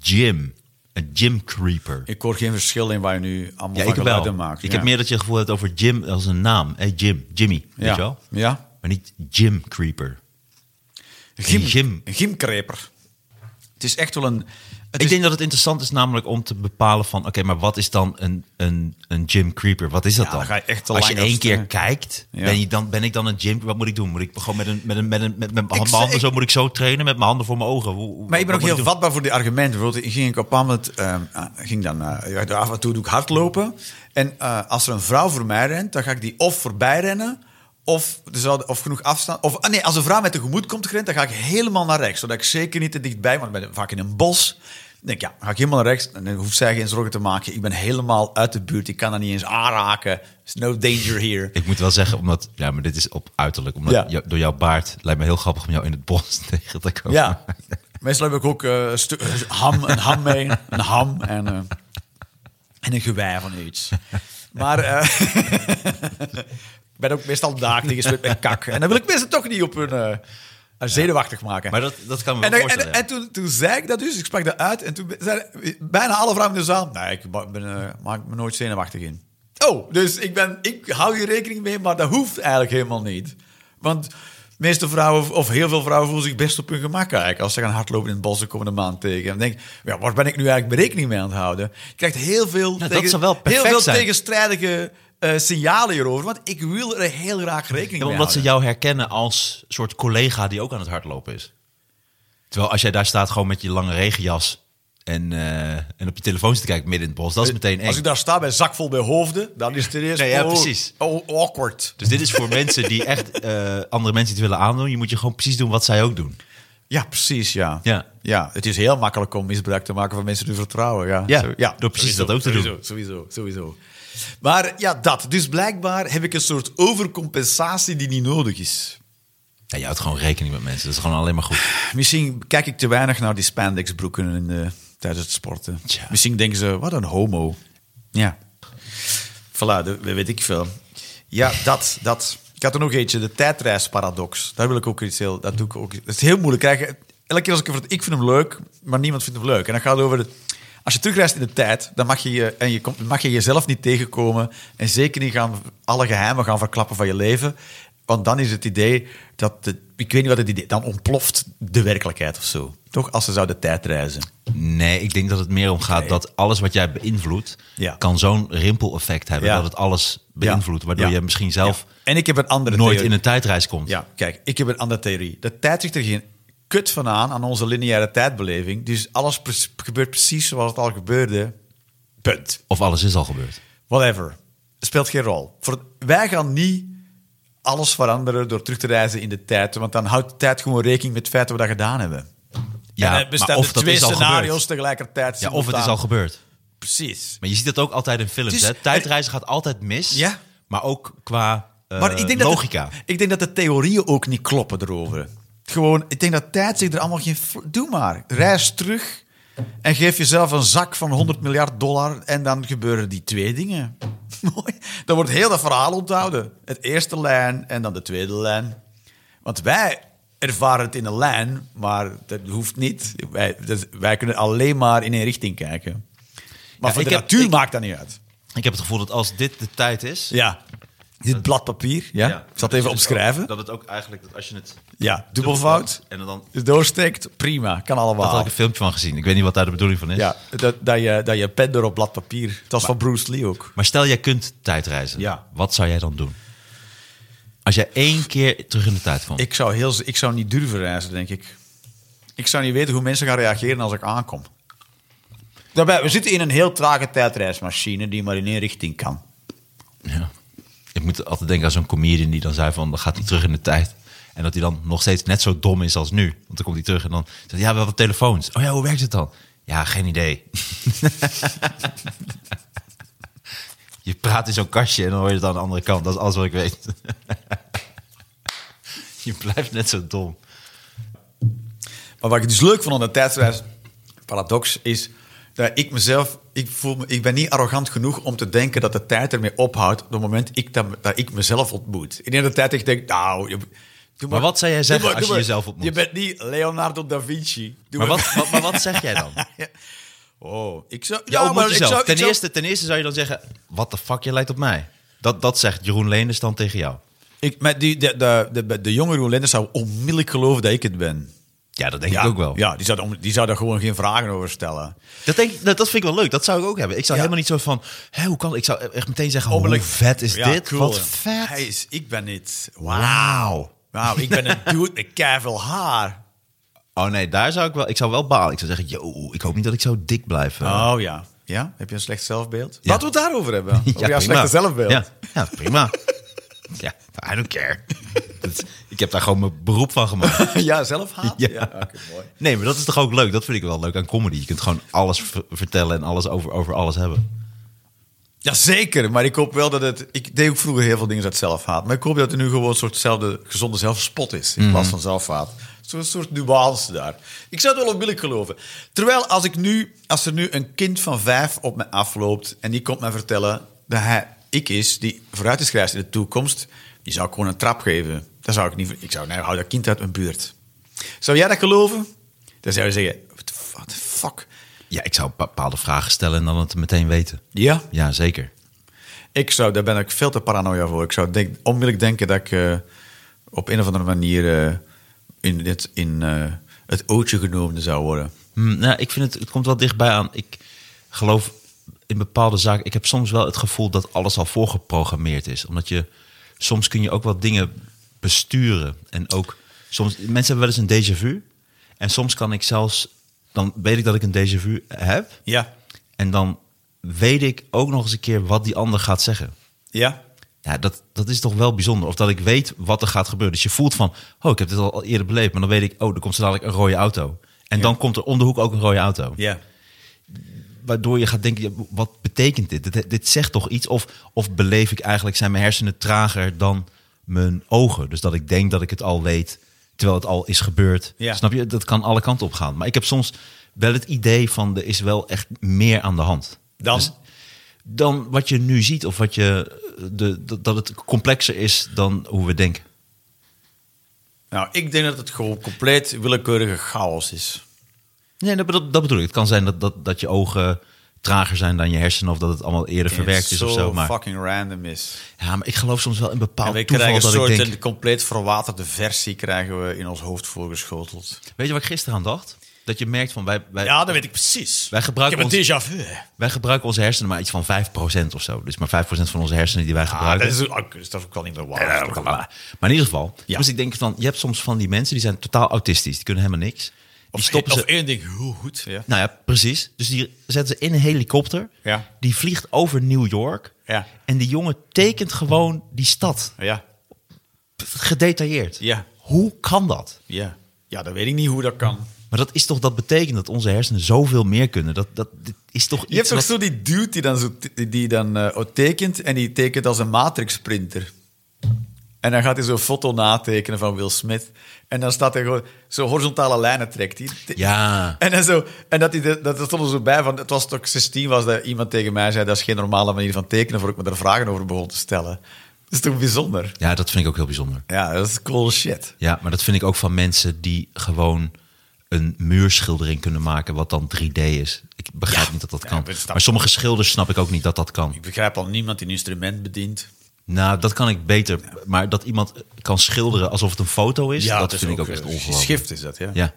Gym. Een gym creeper.
Ik hoor geen verschil in waar je nu allemaal
Ja,
van
ik wel.
geluiden maakt.
Ik
ja.
heb meer dat je het gevoel hebt over Jim als een naam. Hey, Jim, Jimmy,
ja.
weet je wel?
Ja.
Maar niet gym creeper.
Gym,
Een gym.
Een gymcreper. Het is echt wel een... Het
ik
is-
denk dat het interessant is namelijk om te bepalen van... oké, maar wat is dan een, een, een gym creeper? Wat is dat
Ja,
dan?
dan ga je echt te
Als je
lang
één
over-
keer kijkt,
Ja.
ben, je dan, ben ik dan een gym... Wat moet ik doen? Moet ik gewoon met, een, met, een, met, een, met, mijn
Ik-
handen
ik-
zo... Moet ik zo trainen met mijn handen voor mijn ogen? Hoe- hoe-
Maar ik
wat
ben ook
moet
heel
doen?
vatbaar voor die argumenten. Bijvoorbeeld, ging ik op een moment, ehm, ah, ging dan, eh, ja, af en toe doe ik hardlopen. En eh, als er een vrouw voor mij rent, dan ga ik die of voorbij rennen, of, er zou- of genoeg afstand. Of, ah, nee, als een vrouw met tegemoet komt gerend, dan ga ik helemaal naar rechts. Zodat ik zeker niet te dichtbij, want ik ben vaak in een bos. Dan denk ik, ja, dan ga ik helemaal naar rechts. En dan hoeft zij geen zorgen te maken. Ik ben helemaal uit de buurt. Ik kan haar niet eens aanraken. There's no danger here.
Ik moet wel zeggen, omdat, ja, maar dit is op uiterlijk. Omdat
Ja.
jou- door jouw baard lijkt me heel grappig om jou in het bos tegen te komen.
Ja. Meestal heb ik ook eh, een stuk ham, een ham mee, een ham en, eh, en een gewei van iets. Maar eh, ik ben ook meestal daagdingen gespeeld met kak. En dan wil ik mensen toch niet op hun eh, zenuwachtig maken.
Maar dat, dat kan me
en,
wel
dan- en,
voorstellen.
en toen, toen zei ik dat dus, ik sprak dat uit. En toen zeiden bijna alle vrouwen in de zaal... Nee, ik ba- ben, eh, maak me nooit zenuwachtig in. Oh, dus ik, ben, ik hou hier rekening mee, maar dat hoeft eigenlijk helemaal niet. Want de meeste vrouwen, of heel veel vrouwen, voelen zich best op hun gemak eigenlijk. Als ze gaan hardlopen in het bos de komende maand tegen. En denk ik, ja, waar ben ik nu eigenlijk mijn rekening mee aan het houden? Je krijgt heel veel,
Nou, dat zou wel
heel
perfect
veel
zijn.
tegenstrijdige eh, signalen hierover. Want ik wil er heel graag rekening
Ja,
mee
omdat ze
houden.
jou herkennen als soort collega die ook aan het hardlopen is. Terwijl als jij daar staat gewoon met je lange regenjas en, eh, en op je telefoon zit te kijken midden in het bos, dat is meteen eng.
Eh, Als ik daar sta bij zakvol bij hoofden, dan is het ineens
Nee, ja,
oh,
precies.
oh, awkward.
Dus dit is voor mensen die echt eh, andere mensen het willen aandoen. Je moet je gewoon precies doen wat zij ook doen.
Ja, precies, ja.
Ja.
het is heel makkelijk om misbruik te maken van mensen die vertrouwen. Ja,
Ja,
Zo-
door precies dat ook te
sowieso,
doen.
Sowieso, sowieso. Maar ja, dat. Dus blijkbaar heb ik een soort overcompensatie die niet nodig is.
Ja, je houdt gewoon rekening met mensen. Dat is gewoon alleen maar goed.
Misschien kijk ik te weinig naar die spandexbroeken in de, tijdens het sporten.
Tja.
Misschien denken ze, wat een homo. Ja. Voilà, dat weet ik veel. Ja, dat, dat. Ik had er nog eentje, de tijdreisparadox. Daar wil ik ook iets heel... Dat doe ik ook. Dat is heel moeilijk. Krijgen. Elke keer als ik over het... Ik vind hem leuk, maar niemand vindt hem leuk. En dan gaat het over... het- als je terugreist in de tijd, dan mag je, je, en je komt, mag je jezelf niet tegenkomen. En zeker niet gaan, alle geheimen gaan verklappen van je leven. Want dan is het idee dat... De, ik weet niet wat het idee... Dan ontploft de werkelijkheid of zo. Toch? Als ze zouden tijdreizen.
Nee, ik denk dat het meer om gaat dat alles wat jij beïnvloedt,
Ja.
kan zo'n rimpel-effect hebben.
Ja.
Dat het alles beïnvloedt, waardoor
Ja.
je misschien zelf
Ja. En ik heb een andere
nooit
theorie.
in een tijdreis komt.
Ja, kijk, ik heb een andere theorie. De tijd zit er geen kut van aan, aan onze lineaire tijdbeleving. Dus alles pre- gebeurt precies zoals het al gebeurde. Punt.
Of alles is al gebeurd.
Whatever. Speelt geen rol. Voor, wij gaan niet alles veranderen door terug te reizen in de tijd. Want dan houdt de tijd gewoon rekening met het feit dat we dat gedaan hebben.
Ja,
en er bestaan
maar of
er
dat
twee
is al
scenario's
gebeurd.
tegelijkertijd.
Ja, of het is
simultaan.
al gebeurd.
Precies.
Maar je ziet dat ook altijd in films.
Dus-
hè? Tijdreizen gaat altijd mis.
Ja.
Maar ook qua eh,
Maar ik denk
logica.
Dat de, ik denk dat de theorieën ook niet kloppen erover. Gewoon, ik denk dat tijd zich er allemaal geen... fl- Doe maar. Reis terug en geef jezelf een zak van 100 miljard dollar en dan gebeuren die twee dingen. Mooi. Dan wordt heel dat verhaal onthouden. Het eerste lijn en dan de tweede lijn. Want wij ervaren het in een lijn, maar dat hoeft niet. Wij, dat- wij kunnen alleen maar in één richting kijken. Maar
Ja,
voor
ik
de
heb-
natuur
ik-
maakt dat niet uit.
Ik heb het gevoel dat als dit de tijd is,
Ja. Dit blad papier, ja.
Ja.
Ik zal het even opschrijven.
Dat het ook eigenlijk, dat als je het...
Ja, dubbelvoud.
En dan...
Doorsteekt, prima. Kan allemaal.
Daar had ik een filmpje van gezien. Ik weet niet wat daar de bedoeling van is.
Ja, dat, dat, je, dat je pen door op blad papier. Dat was van Bruce Lee ook.
Maar stel, jij kunt tijdreizen.
Ja.
Wat zou jij dan doen? Als jij één keer terug in de tijd kwam.
Ik zou, heel, ik zou niet durven reizen, denk ik. Ik zou niet weten hoe mensen gaan reageren als ik aankom. Daarbij, we zitten in een heel trage tijdreismachine die maar in één richting kan.
Ja. Ik moet altijd denken aan zo'n comedian die dan zei van... dan gaat hij terug in de tijd. En dat hij dan nog steeds net zo dom is als nu. Want dan komt hij terug en dan zegt hij... ja, we hadden telefoons. Oh ja, hoe werkt het dan? Ja, geen idee. je praat in zo'n kastje en dan hoor je het aan de andere kant. Dat is alles wat ik weet. je blijft net zo dom.
Maar wat ik dus leuk vond aan de tijdsreis paradox is dat ik mezelf, ik, voel me, ik ben niet arrogant genoeg om te denken dat de tijd ermee ophoudt op het moment ik dat, dat ik mezelf ontmoet. In de hele tijd ik denk, nou, je- doe
Maar wat zou jij
doe
zeggen
maar,
als
doe
je
maar.
jezelf ontmoet?
Je bent niet Leonardo da Vinci. Doe
Maar wat, wat, maar wat zeg jij dan?
Oh, ik zou.
Ja,
maar
ontmoet
ik
jezelf.
zou- ik
ten,
zou-
eerste, ten eerste zou je dan zeggen... wat de fuck, je lijkt op mij. Dat, dat zegt Jeroen Leenders dan tegen jou.
Ik, maar die, de, de, de, de jongere Roelender zou onmiddellijk geloven dat ik het ben.
Ja, dat denk ik ook wel.
Ja, die zou, dan- die zou daar gewoon geen vragen over stellen.
Dat, denk, ik- dat, dat vind ik wel leuk. Dat zou ik ook hebben. Ik zou
Ja.
helemaal niet zo van... Hé, hoe kan, ik zou echt meteen zeggen...
Onmiddellijk-
Hoe vet is
Ja,
dit?
cool.
Wat vet.
Hij is, ik ben het.
Wauw.
Wauw, ik ben een dude met keiveel haar.
Oh nee, daar zou ik wel... Ik zou wel balen. Ik zou zeggen... Yo, ik hoop niet dat ik zo dik blijf. eh.
Oh ja. Ja? Heb je een slecht zelfbeeld?
Ja.
Laten we het daarover hebben. Over jouw
prima.
slechte zelfbeeld.
Ja, ja prima. ja, I don't care. Dat- ik heb daar gewoon mijn beroep van gemaakt.
ja zelfhaat?
Ja.
oké, mooi.
Nee, maar dat is toch ook leuk? Dat vind ik wel leuk aan comedy. Je kunt gewoon alles v- vertellen en alles over, over alles hebben.
Jazeker, maar ik hoop wel dat het... Ik deed ook vroeger heel veel dingen uit zelfhaat. Maar ik hoop dat er nu gewoon een soortzelfde gezonde zelfspot is. In plaats van zelfhaat. Zo'n soort nuance daar. Ik zou het wel onmiddellijk geloven. Terwijl als, ik nu, als er nu een kind van vijf op me afloopt... en die komt mij vertellen dat hij ik is... die vooruit is gereisd in de toekomst... die zou ik gewoon een trap geven. Dat zou ik niet... Ik zou, nee, hou dat kind uit mijn buurt. Zou jij dat geloven? Dan zou je zeggen... What the fuck? what the fuck?
Ja, ik zou bepaalde vragen stellen en dan het meteen weten.
Ja,
Ja, zeker.
Ik zou, daar ben ik veel te paranoia voor. Ik zou denk, onmiddellijk denken dat ik eh, op een of andere manier eh, in, dit, in eh, het ootje genomen zou worden.
Hm, nou, ik vind het, het komt wel dichtbij aan. Ik geloof in bepaalde zaken. Ik heb soms wel het gevoel dat alles al voorgeprogrammeerd is. Omdat je soms kun je ook wel dingen besturen. En ook soms, mensen hebben wel eens een déjà vu. En soms kan ik zelfs, dan weet ik dat ik een déjà vu heb.
Ja.
En dan weet ik ook nog eens een keer wat die ander gaat zeggen.
Ja?
Ja, dat, dat is toch wel bijzonder. Of dat ik weet wat er gaat gebeuren. Dus je voelt van, oh, ik heb dit al al eerder beleefd. Maar dan weet ik, oh, er komt zo dadelijk een rode auto. En dan komt er om de hoek ook een rode auto.
Ja.
Waardoor je gaat denken, ja, wat betekent dit? dit? Dit zegt toch iets? Of, of beleef ik eigenlijk, zijn mijn hersenen trager dan mijn ogen? Dus dat ik denk dat ik het al weet, terwijl het al is gebeurd.
Ja.
Snap je? Dat kan alle kanten op gaan. Maar ik heb soms wel het idee van, er is wel echt meer aan de hand.
Dan?
Dus- dan wat je nu ziet of wat je, de, dat- dat het complexer is dan hoe we denken.
Nou, ik denk dat het gewoon compleet willekeurige chaos is.
Nee, dat, dat, dat bedoel ik. Het kan zijn dat, dat, dat je ogen trager zijn dan je hersenen of dat het allemaal eerder verwerkt
En
is
zo
of zo. Maar,
fucking random is.
ja, maar ik geloof soms wel in bepaald
en we
toeval
krijgen een
dat
soort
ik denk...
een compleet verwaterde versie krijgen we in ons hoofd voorgeschoteld.
Weet je wat ik gisteren aan dacht? Dat je merkt van, wij, wij,
Ja, dat weet ik precies.
Wij gebruiken
ik heb een déjà
ons-
vu. hè.
wij gebruiken onze hersenen maar iets van 5% of zo. Dus maar 5% van onze hersenen die wij
Ah,
gebruiken.
dat, is, ook- dat is ook wel niet meer waar.
Maar in ieder geval,
Ja.
dus ik denk van, je hebt soms van die mensen die zijn totaal autistisch. Die kunnen helemaal niks. Die
Of,
stoppen
of
ze...
één ding, hoe goed. Ja.
Nou ja, precies. Dus die zetten ze in een helikopter.
Ja.
Die vliegt over New York.
Ja.
En die jongen tekent gewoon die stad.
ja.
Gedetailleerd.
Ja.
Hoe kan dat?
Ja. Ja, dan weet ik niet hoe dat kan.
Maar dat is toch, dat betekent dat onze hersenen zoveel meer kunnen. Dat, dat dit is toch iets
Je hebt toch
wat-
zo die dude die dan, zo, die dan eh, tekent en die tekent als een matrixprinter. En dan gaat hij zo'n foto natekenen van Will Smith. En dan staat hij gewoon, zo horizontale lijnen trekt hij.
Ja.
En, dan zo, en dat, hij de- dat er stond er zo bij van, het was toch 16 was dat iemand tegen mij zei, dat is geen normale manier van tekenen, voor ik me daar vragen over begon te stellen. Dat is toch bijzonder?
Ja, dat vind ik ook heel bijzonder.
Ja, dat is cool shit.
Ja, maar dat vind ik ook van mensen die gewoon een muurschildering kunnen maken wat dan 3D is. Ik begrijp
Ja.
niet dat dat
Ja,
kan.
dat snap
maar sommige schilders snap ik ook niet dat dat kan.
Ik begrijp al niemand die een instrument bedient.
Nou, dat kan ik beter. Maar dat iemand kan schilderen alsof het een foto is, dat,
is
vind ik ook echt
eh,
ongelooflijk.
Geschift is dat, ja.
Ja.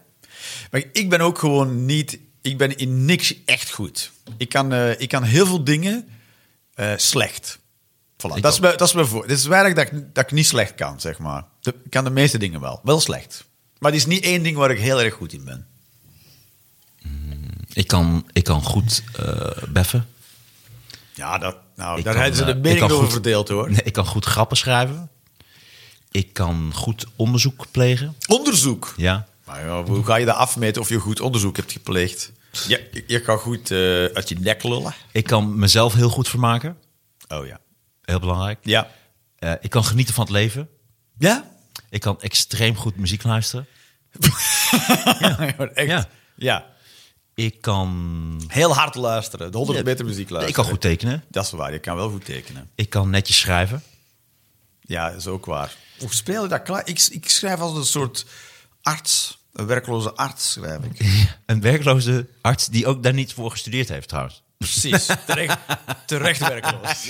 Maar ik ben ook gewoon niet... Ik ben in niks echt goed. Ik kan, eh, ik kan heel veel dingen eh, slecht. Voilà. Dat, is
ook.
mijn, dat is mijn voor. Het is weinig dat ik, dat ik niet slecht kan, zeg maar. De- ik kan de meeste dingen wel. Wel slecht. Maar het is niet één ding waar ik heel erg goed in ben.
Ik, kan, ik kan goed eh, beffen.
Ja, dat, nou,
Ik
daar
kan,
hebben ze
eh,
de
ik
mening
kan
over
goed-
verdeeld, hoor.
Nee, ik kan goed grappen schrijven. Ik kan goed onderzoek plegen.
Onderzoek.
Ja.
Maar ja, hoe ga je dat afmeten of je goed onderzoek hebt gepleegd? Je, je kan goed eh, uit je nek lullen.
Ik kan mezelf heel goed vermaken.
Oh ja.
Heel belangrijk.
Ja.
Eh, ik kan genieten van het leven.
Ja?
Ik kan extreem goed muziek luisteren.
Echt? Ja.
Ja. Ik kan...
Heel hard luisteren. De 100 meter muziek luisteren.
Ik kan goed tekenen.
Dat is waar. Je kan wel goed tekenen.
Ik kan netjes schrijven.
Ja, dat is ook waar. Hoe speel je dat klaar? Ik, ik schrijf als een soort arts. Een werkloze arts schrijf ik.
Een werkloze arts die ook daar niet voor gestudeerd heeft trouwens.
Precies. Terecht, terecht werkloos.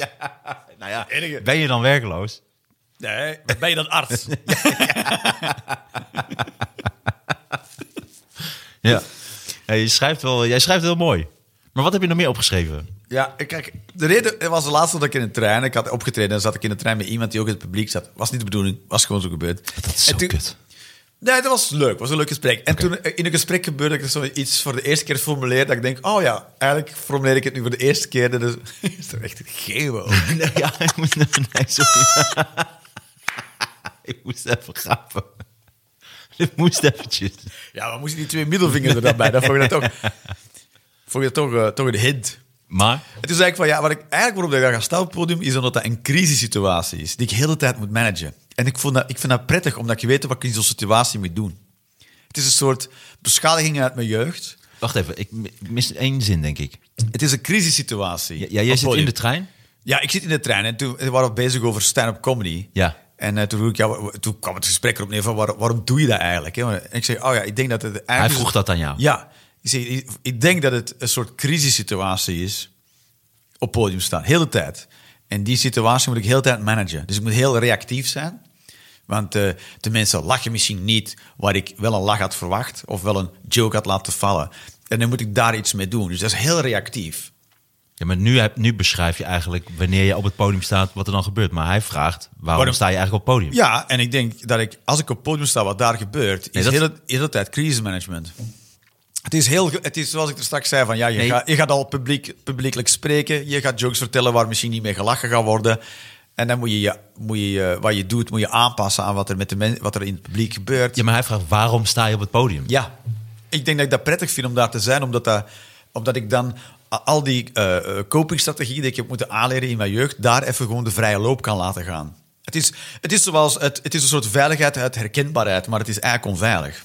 Nou ja,
enige-
ben je dan werkloos?
Nee, ben je dan arts?
Ja. Ja, je schrijft wel, jij schrijft heel mooi. Maar wat heb je nog meer opgeschreven?
Ja, kijk, de reden het was de laatste dat ik in een trein, ik had opgetreden en zat ik in een trein met iemand die ook in het publiek zat. Was niet de bedoeling, was gewoon zo gebeurd.
Dat is
En
zo
toen-
kut.
Nee, dat was leuk, was een leuk gesprek. En toen eh, in een gesprek gebeurde dat ik zo iets voor de eerste keer formuleer, dat ik denk, oh ja, eigenlijk formuleer ik het nu voor de eerste keer. Dat is, is er echt een geeuw over.
Nee, ja, ik moest, nee, sorry. ik moest even grappen. Dit moest eventjes.
Ja, maar moesten die twee middelvingers er dan bij? Dat vond je dat toch, vond je dat toch, eh, toch een hint.
Maar,
Het is eigenlijk van ja, wat ik eigenlijk waarop ik daar ga staan op het podium is omdat dat een crisissituatie is die ik heel de tijd moet managen. En ik, vond dat, ik vind dat prettig omdat je weet wat ik in zo'n situatie moet doen. Het is een soort beschadiging uit mijn jeugd.
wacht even. Ik mi- mis één zin, denk ik.
Het is een crisissituatie.
Ja,
situatie.
jij zit in de trein.
Ja, ik zit in de trein en toen waren we bezig over stand-up comedy.
Ja.
En eh, toen, vroeg ik, ja, wa- toen kwam het gesprek erop neer van waar- waarom doe je dat eigenlijk? hè? En ik zei, oh ja, ik denk dat het eigenlijk...
Hij vroeg dat aan jou.
Ja. Ik, zeg, ik denk dat het een soort crisissituatie is op podium staan, heel de tijd. En die situatie moet ik heel de tijd managen. Dus ik moet heel reactief zijn. Want eh, de mensen lachen misschien niet waar ik wel een lach had verwacht of wel een joke had laten vallen. En dan moet ik daar iets mee doen. Dus dat is heel reactief.
Ja, maar nu, heb- nu beschrijf je eigenlijk wanneer je op het podium staat, wat er dan gebeurt. Maar hij vraagt, waarom,
Waarom-
sta je eigenlijk op het podium?
Ja, en ik denk dat ik, als ik op het podium sta, wat daar gebeurt, is
Nee, dat-
heel, de hele tijd crisismanagement. Het is, heel, ge- het is zoals ik er straks zei, van, ja, je,
Nee.
gaat, je gaat al publiek, publiekelijk spreken, je gaat jokes vertellen waar misschien niet mee gelachen gaat worden. En dan moet je, je, moet je je- wat je doet, moet je aanpassen aan wat er, met de men, wat er in het publiek gebeurt.
Ja, maar hij vraagt, waarom sta je op het podium?
Ja, ik denk dat ik dat prettig vind om daar te zijn, omdat, dat, omdat ik dan a- al die eh eh, copingstrategieën die ik heb moeten aanleren in mijn jeugd, daar even gewoon de vrije loop kan laten gaan. Het is, het is, zoals, het, het is een soort veiligheid uit herkenbaarheid, maar het is eigenlijk onveilig.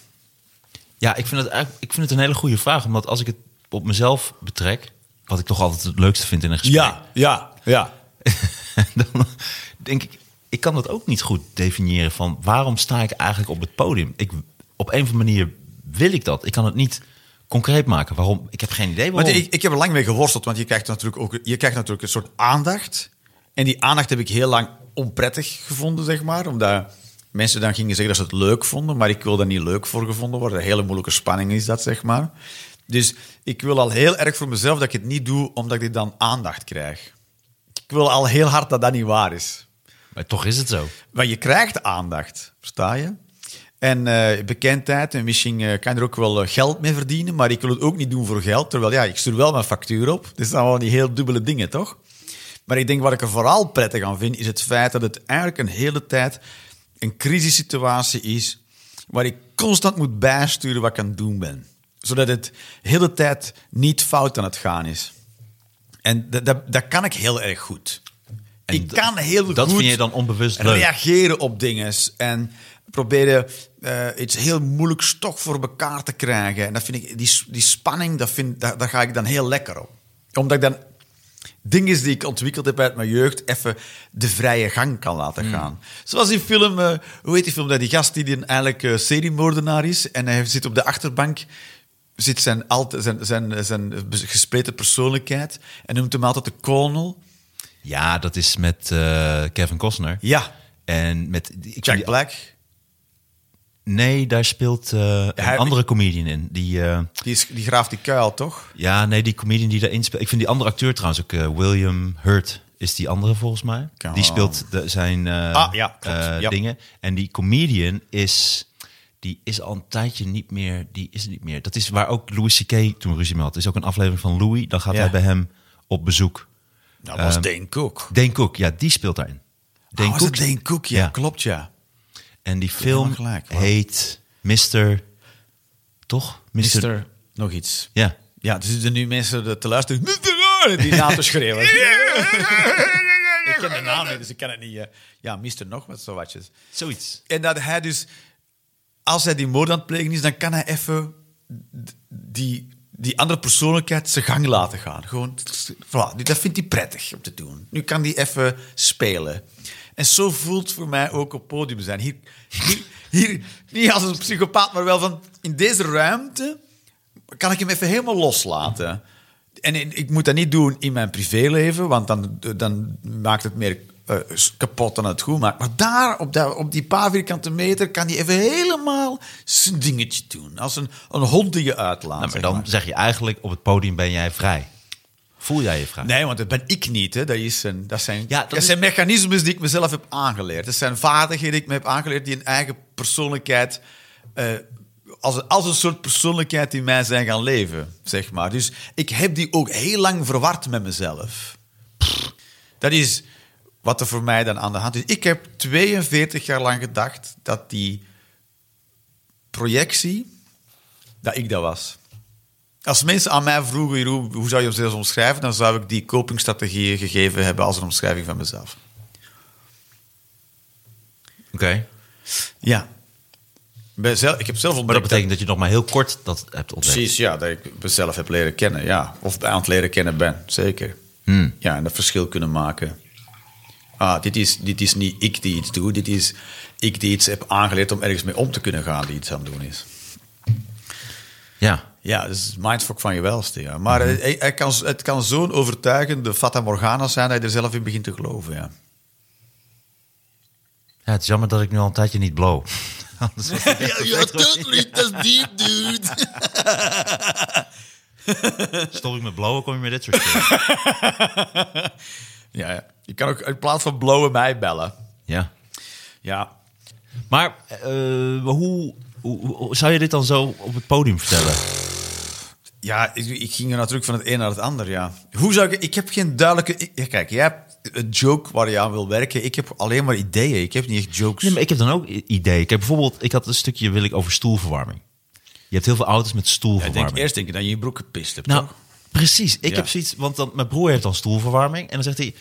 Ja, ik vind, het, eigenlijk- ik vind het een hele goede vraag. Omdat als ik het op mezelf betrek, wat ik toch altijd het leukste vind in een gesprek.
ja, ja.
dan denk ik, ik kan dat ook niet goed definiëren van waarom sta ik eigenlijk op het podium? Ik, op een of andere manier wil ik dat. Ik kan het niet concreet maken. Waarom? Ik heb geen idee
Maar
waarom.
ik, ik heb er lang mee geworsteld, want je krijgt, natuurlijk ook, je krijgt natuurlijk een soort aandacht. En die aandacht heb ik heel lang onprettig gevonden, zeg maar. Omdat mensen dan gingen zeggen dat ze het leuk vonden, maar ik wil daar niet leuk voor gevonden worden. Een hele moeilijke spanning is dat, zeg maar. Dus ik wil al heel erg voor mezelf dat ik het niet doe, omdat ik dan aandacht krijg. Ik wil al heel hard dat dat niet waar is.
Maar toch is het zo.
Maar je krijgt aandacht, versta je? En eh, bekendheid, en misschien eh, kan je er ook wel eh, geld mee verdienen, maar ik wil het ook niet doen voor geld. Terwijl ja, ik stuur wel mijn factuur op. Dus dat zijn wel die heel dubbele dingen, toch? Maar ik denk wat ik er vooral prettig aan vind, is het feit dat het eigenlijk een hele tijd een crisissituatie is waar ik constant moet bijsturen wat ik aan het doen ben. Zodat het de hele tijd niet fout aan het gaan is. En dat, dat, dat kan ik heel erg goed.
En
ik
d-
kan heel goed...
dat vind je dan onbewust leuk.
Reageren op dingen en proberen eh, iets heel moeilijks toch voor elkaar te krijgen. En dat vind ik, die, die spanning, dat vind, daar, daar ga ik dan heel lekker op. Omdat ik dan dingen die ik ontwikkeld heb uit mijn jeugd even de vrije gang kan laten gaan. Zoals die film, eh, hoe heet die film, dat die gast die dan eigenlijk eh, seriemoordenaar is en hij zit op de achterbank zit zijn, alt- zijn, zijn, zijn gespleten persoonlijkheid en noemt hem altijd de kolonel.
Ja, dat is met eh, Kevin Costner.
Ja,
En met... Ik,
Jack
die-
Black.
Nee, daar speelt eh, een
hij-
andere comedian in. Die, eh,
Die, is, die graaft die kuil, toch?
ja, nee, die comedian die daarin speelt... Ik vind die andere acteur trouwens ook... eh, William Hurt is die andere volgens mij.
Kan.
Die speelt de- zijn eh,
Ah, ja, klopt.
eh,
Ja.
dingen. En die comedian is... Die is al een tijdje niet meer... Die is er niet meer. Dat is waar ook Louis C.K. toen ruzie mee had. Er is ook een aflevering van Louis. Dan gaat
Ja.
hij bij hem op bezoek.
Dat Eh, Ah, was Dane Cook.
Dane Cook, ja, die speelt daarin.
Dane
Dane
was Cook?
Cook.
Oh, Dane Cook, ja,
Ja.
klopt, ja.
En die film
helemaal gelijk, wauw.
heet Mr. Toch? Mr.
Mister... Nog iets.
Ja.
Ja, er zitten nu mensen te luisteren. Die naam te schreeuwen. ik ken de naam niet, dus ik kan het niet. eh. Ja, Mister nog wat zo watjes.
Zoiets.
En dat hij dus, als hij die moord aan het plegen is, dan kan hij even d- die, die andere persoonlijkheid zijn gang laten gaan. Gewoon, voilà, nu, dat vindt hij prettig om te doen. Nu kan hij even spelen. En zo voelt het voor mij ook op podium zijn. Hier, hier, hier, niet als een psychopaat, maar wel van in deze ruimte kan ik hem even helemaal loslaten. En in- ik moet dat niet doen in mijn privéleven, want dan, dan maakt het meer eh, kapot dan het goed maakt. Maar daar, op, dat, op die paar vierkante meter, kan hij even helemaal zijn dingetje doen. Als een, een hond die je uitlaat.
Nou, maar
zeg
dan
maar.
zeg je eigenlijk op het podium ben jij vrij. Voel jij je vrij?
Nee, want dat ben ik niet. Hè. Dat, is een, dat zijn,
Ja, dat
dat
is-
zijn mechanismes die ik mezelf heb aangeleerd. Dat zijn vaardigheden die ik me heb aangeleerd, die een eigen persoonlijkheid. eh, als, een- als een soort persoonlijkheid in mij zijn gaan leven, zeg maar. Dus ik heb die ook heel lang verward met mezelf. Dat is wat er voor mij dan aan de hand is. Ik heb 42 jaar lang gedacht dat die projectie, dat ik dat was. Als mensen aan mij vroegen, Jeroen, hoe zou je jezelf omschrijven? Dan zou ik die copingstrategieën gegeven hebben als een omschrijving van mezelf.
Oké.
Ja. Bij zelf, ik heb zelf
Maar dat
ontdekt...
betekent dat je nog maar heel kort dat hebt ontdekt.
Precies, ja. Dat ik mezelf heb leren kennen, ja. Of aan het leren kennen ben, zeker. Ja, en dat verschil kunnen maken. Ah, dit is, dit is niet ik die iets doe. Dit is ik die iets heb aangeleerd om ergens mee om te kunnen gaan die iets aan het doen is.
Ja.
Ja, dat is mindfuck van je welste, ja. Maar eh, hij, hij kan, het kan zo'n overtuigende Fata Morgana zijn... dat je er zelf in begint te geloven, ja.
ja. Het is jammer dat ik nu al een tijdje niet blow. Anders was ik echt
Ja, tuurlijk, dat is diep, dude.
Stop ik met blowen, kom je met dit soort dingen.
Ja, ja. je kan ook in plaats van blauwe mij bellen.
ja.
Ja.
Maar eh, hoe, hoe, hoe- zou je dit dan zo op het podium vertellen?
Ja, ik, ik ging er natuurlijk van het een naar het ander, ja. Hoe zou ik... Ik heb geen duidelijke... ik- ja, kijk, jij hebt een joke waar je aan wil werken. Ik heb alleen maar ideeën. Ik heb niet echt jokes.
Nee, maar ik heb dan ook i- ideeën. Kijk, bijvoorbeeld, ik had een stukje wil ik over stoelverwarming. Je hebt heel veel auto's met
ik
stoelverwarming.
denk, eerst denk je dat je je broek gepist hebt,
Nou,
toch?
precies. Ik
Ja.
heb zoiets, want dan, mijn broer heeft dan stoelverwarming. En dan zegt hij,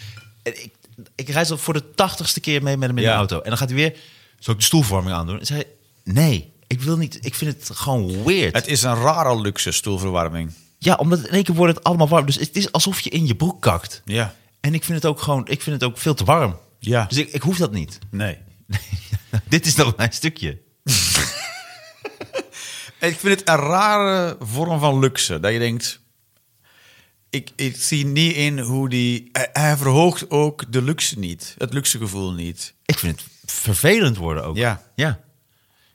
en ik, ik reis al voor de tachtigste keer mee met hem in
Ja.
de auto. En dan gaat hij weer, zal ik de stoelverwarming aandoen? En zei hij, nee, ik wil niet, ik vind het gewoon weird.
Het is een rare luxe stoelverwarming.
ja, omdat in één keer wordt het allemaal warm. Dus het is alsof je in je broek kakt.
Ja.
En ik vind het ook gewoon, ik vind het ook veel te warm.
Ja.
Dus ik, ik hoef dat niet.
Nee.
Dit is dan mijn stukje.
Ik vind het een rare vorm van luxe. Dat je denkt... Ik, ik zie niet in hoe die... Hij, hij verhoogt ook de luxe niet. Het luxegevoel niet.
Ik vind het vervelend worden ook.
Ja.
Ja.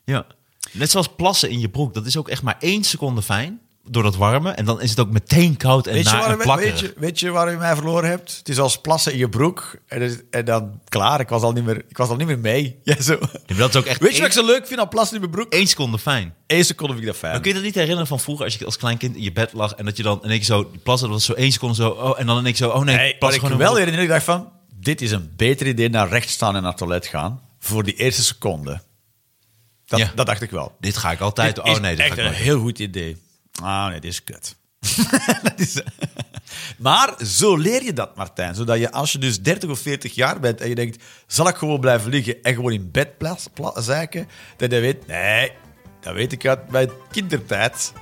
ja. Net zoals plassen in je broek. Dat is ook echt maar één seconde fijn. Door dat warme. En dan is het ook meteen koud en
Weet je,
naar en
waar, we- weet,
plakkerig.
je, weet je waar u mij verloren hebt? Het is als plassen in je broek. En, dus- en dan klaar, ik was al niet meer, ik was al niet meer mee. Ja, zo.
maar dat is ook echt
weet je wat ik
één-
zo leuk vind aan plassen in mijn broek?
Eén seconde fijn.
Eén seconde vind ik dat fijn.
Maar kun je dat niet herinneren van vroeger als je als klein kind in je bed lag en dat je dan in één keer zo die plassen, dat was zo één seconde zo, oh, en dan in één keer zo, oh nee,
Nee,
plas
wat ik
gewoon in
wel
mijn
herinner, ik dacht van... Dit is een beter idee naar rechts staan en naar het toilet gaan. Voor die eerste seconde. Dat,
Ja.
dat dacht ik wel.
broek. Dit ga ik altijd,
Dit
oh
is
nee, dit ga
echt
ik
een
nooit doen.
heel goed idee. Ah nee, dit is kut. dat is, maar zo leer je dat, Martijn. Zodat je als je dus 30 of 40 jaar bent en je denkt... zal ik gewoon blijven liggen en gewoon in bed plas, pla- zeiken? Dat je weet, nee, dat weet ik uit mijn kindertijd.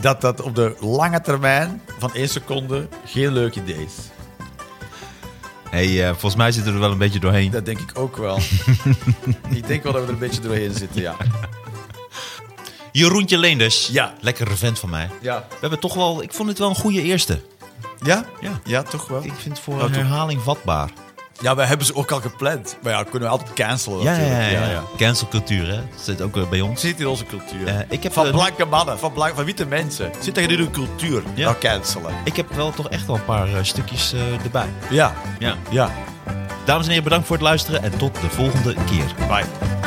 Dat dat op de lange termijn van één seconde geen leuk idee is.
Hey, eh, volgens mij zitten we er wel een beetje doorheen.
Dat denk ik ook wel. ik denk wel dat we er een beetje doorheen zitten, ja.
Jeroentje Leenders.
Ja.
Lekkere vent van mij.
Ja.
We hebben toch wel, ik vond het wel een goede eerste.
Ja?
Ja.
ja, toch wel.
Ik vind het voor
Nou,
een
toch-
herhaling vatbaar.
Ja, wij hebben ze ook al gepland. Maar ja, kunnen we altijd cancelen
Ja, ja,
natuurlijk.
ja, ja. Cancelcultuur, hè? Dat zit ook eh, bij ons.
zit in onze cultuur.
Eh, ik heb
van
een-
blanke mannen, van, blank, van witte mensen. Zit tegen in hun cultuur.
Ja.
Nou, cancelen.
Ik heb wel toch echt wel een paar eh, stukjes eh, erbij.
Ja,
Ja.
ja.
Dames en heren, bedankt voor het luisteren en tot de volgende keer.
Bye.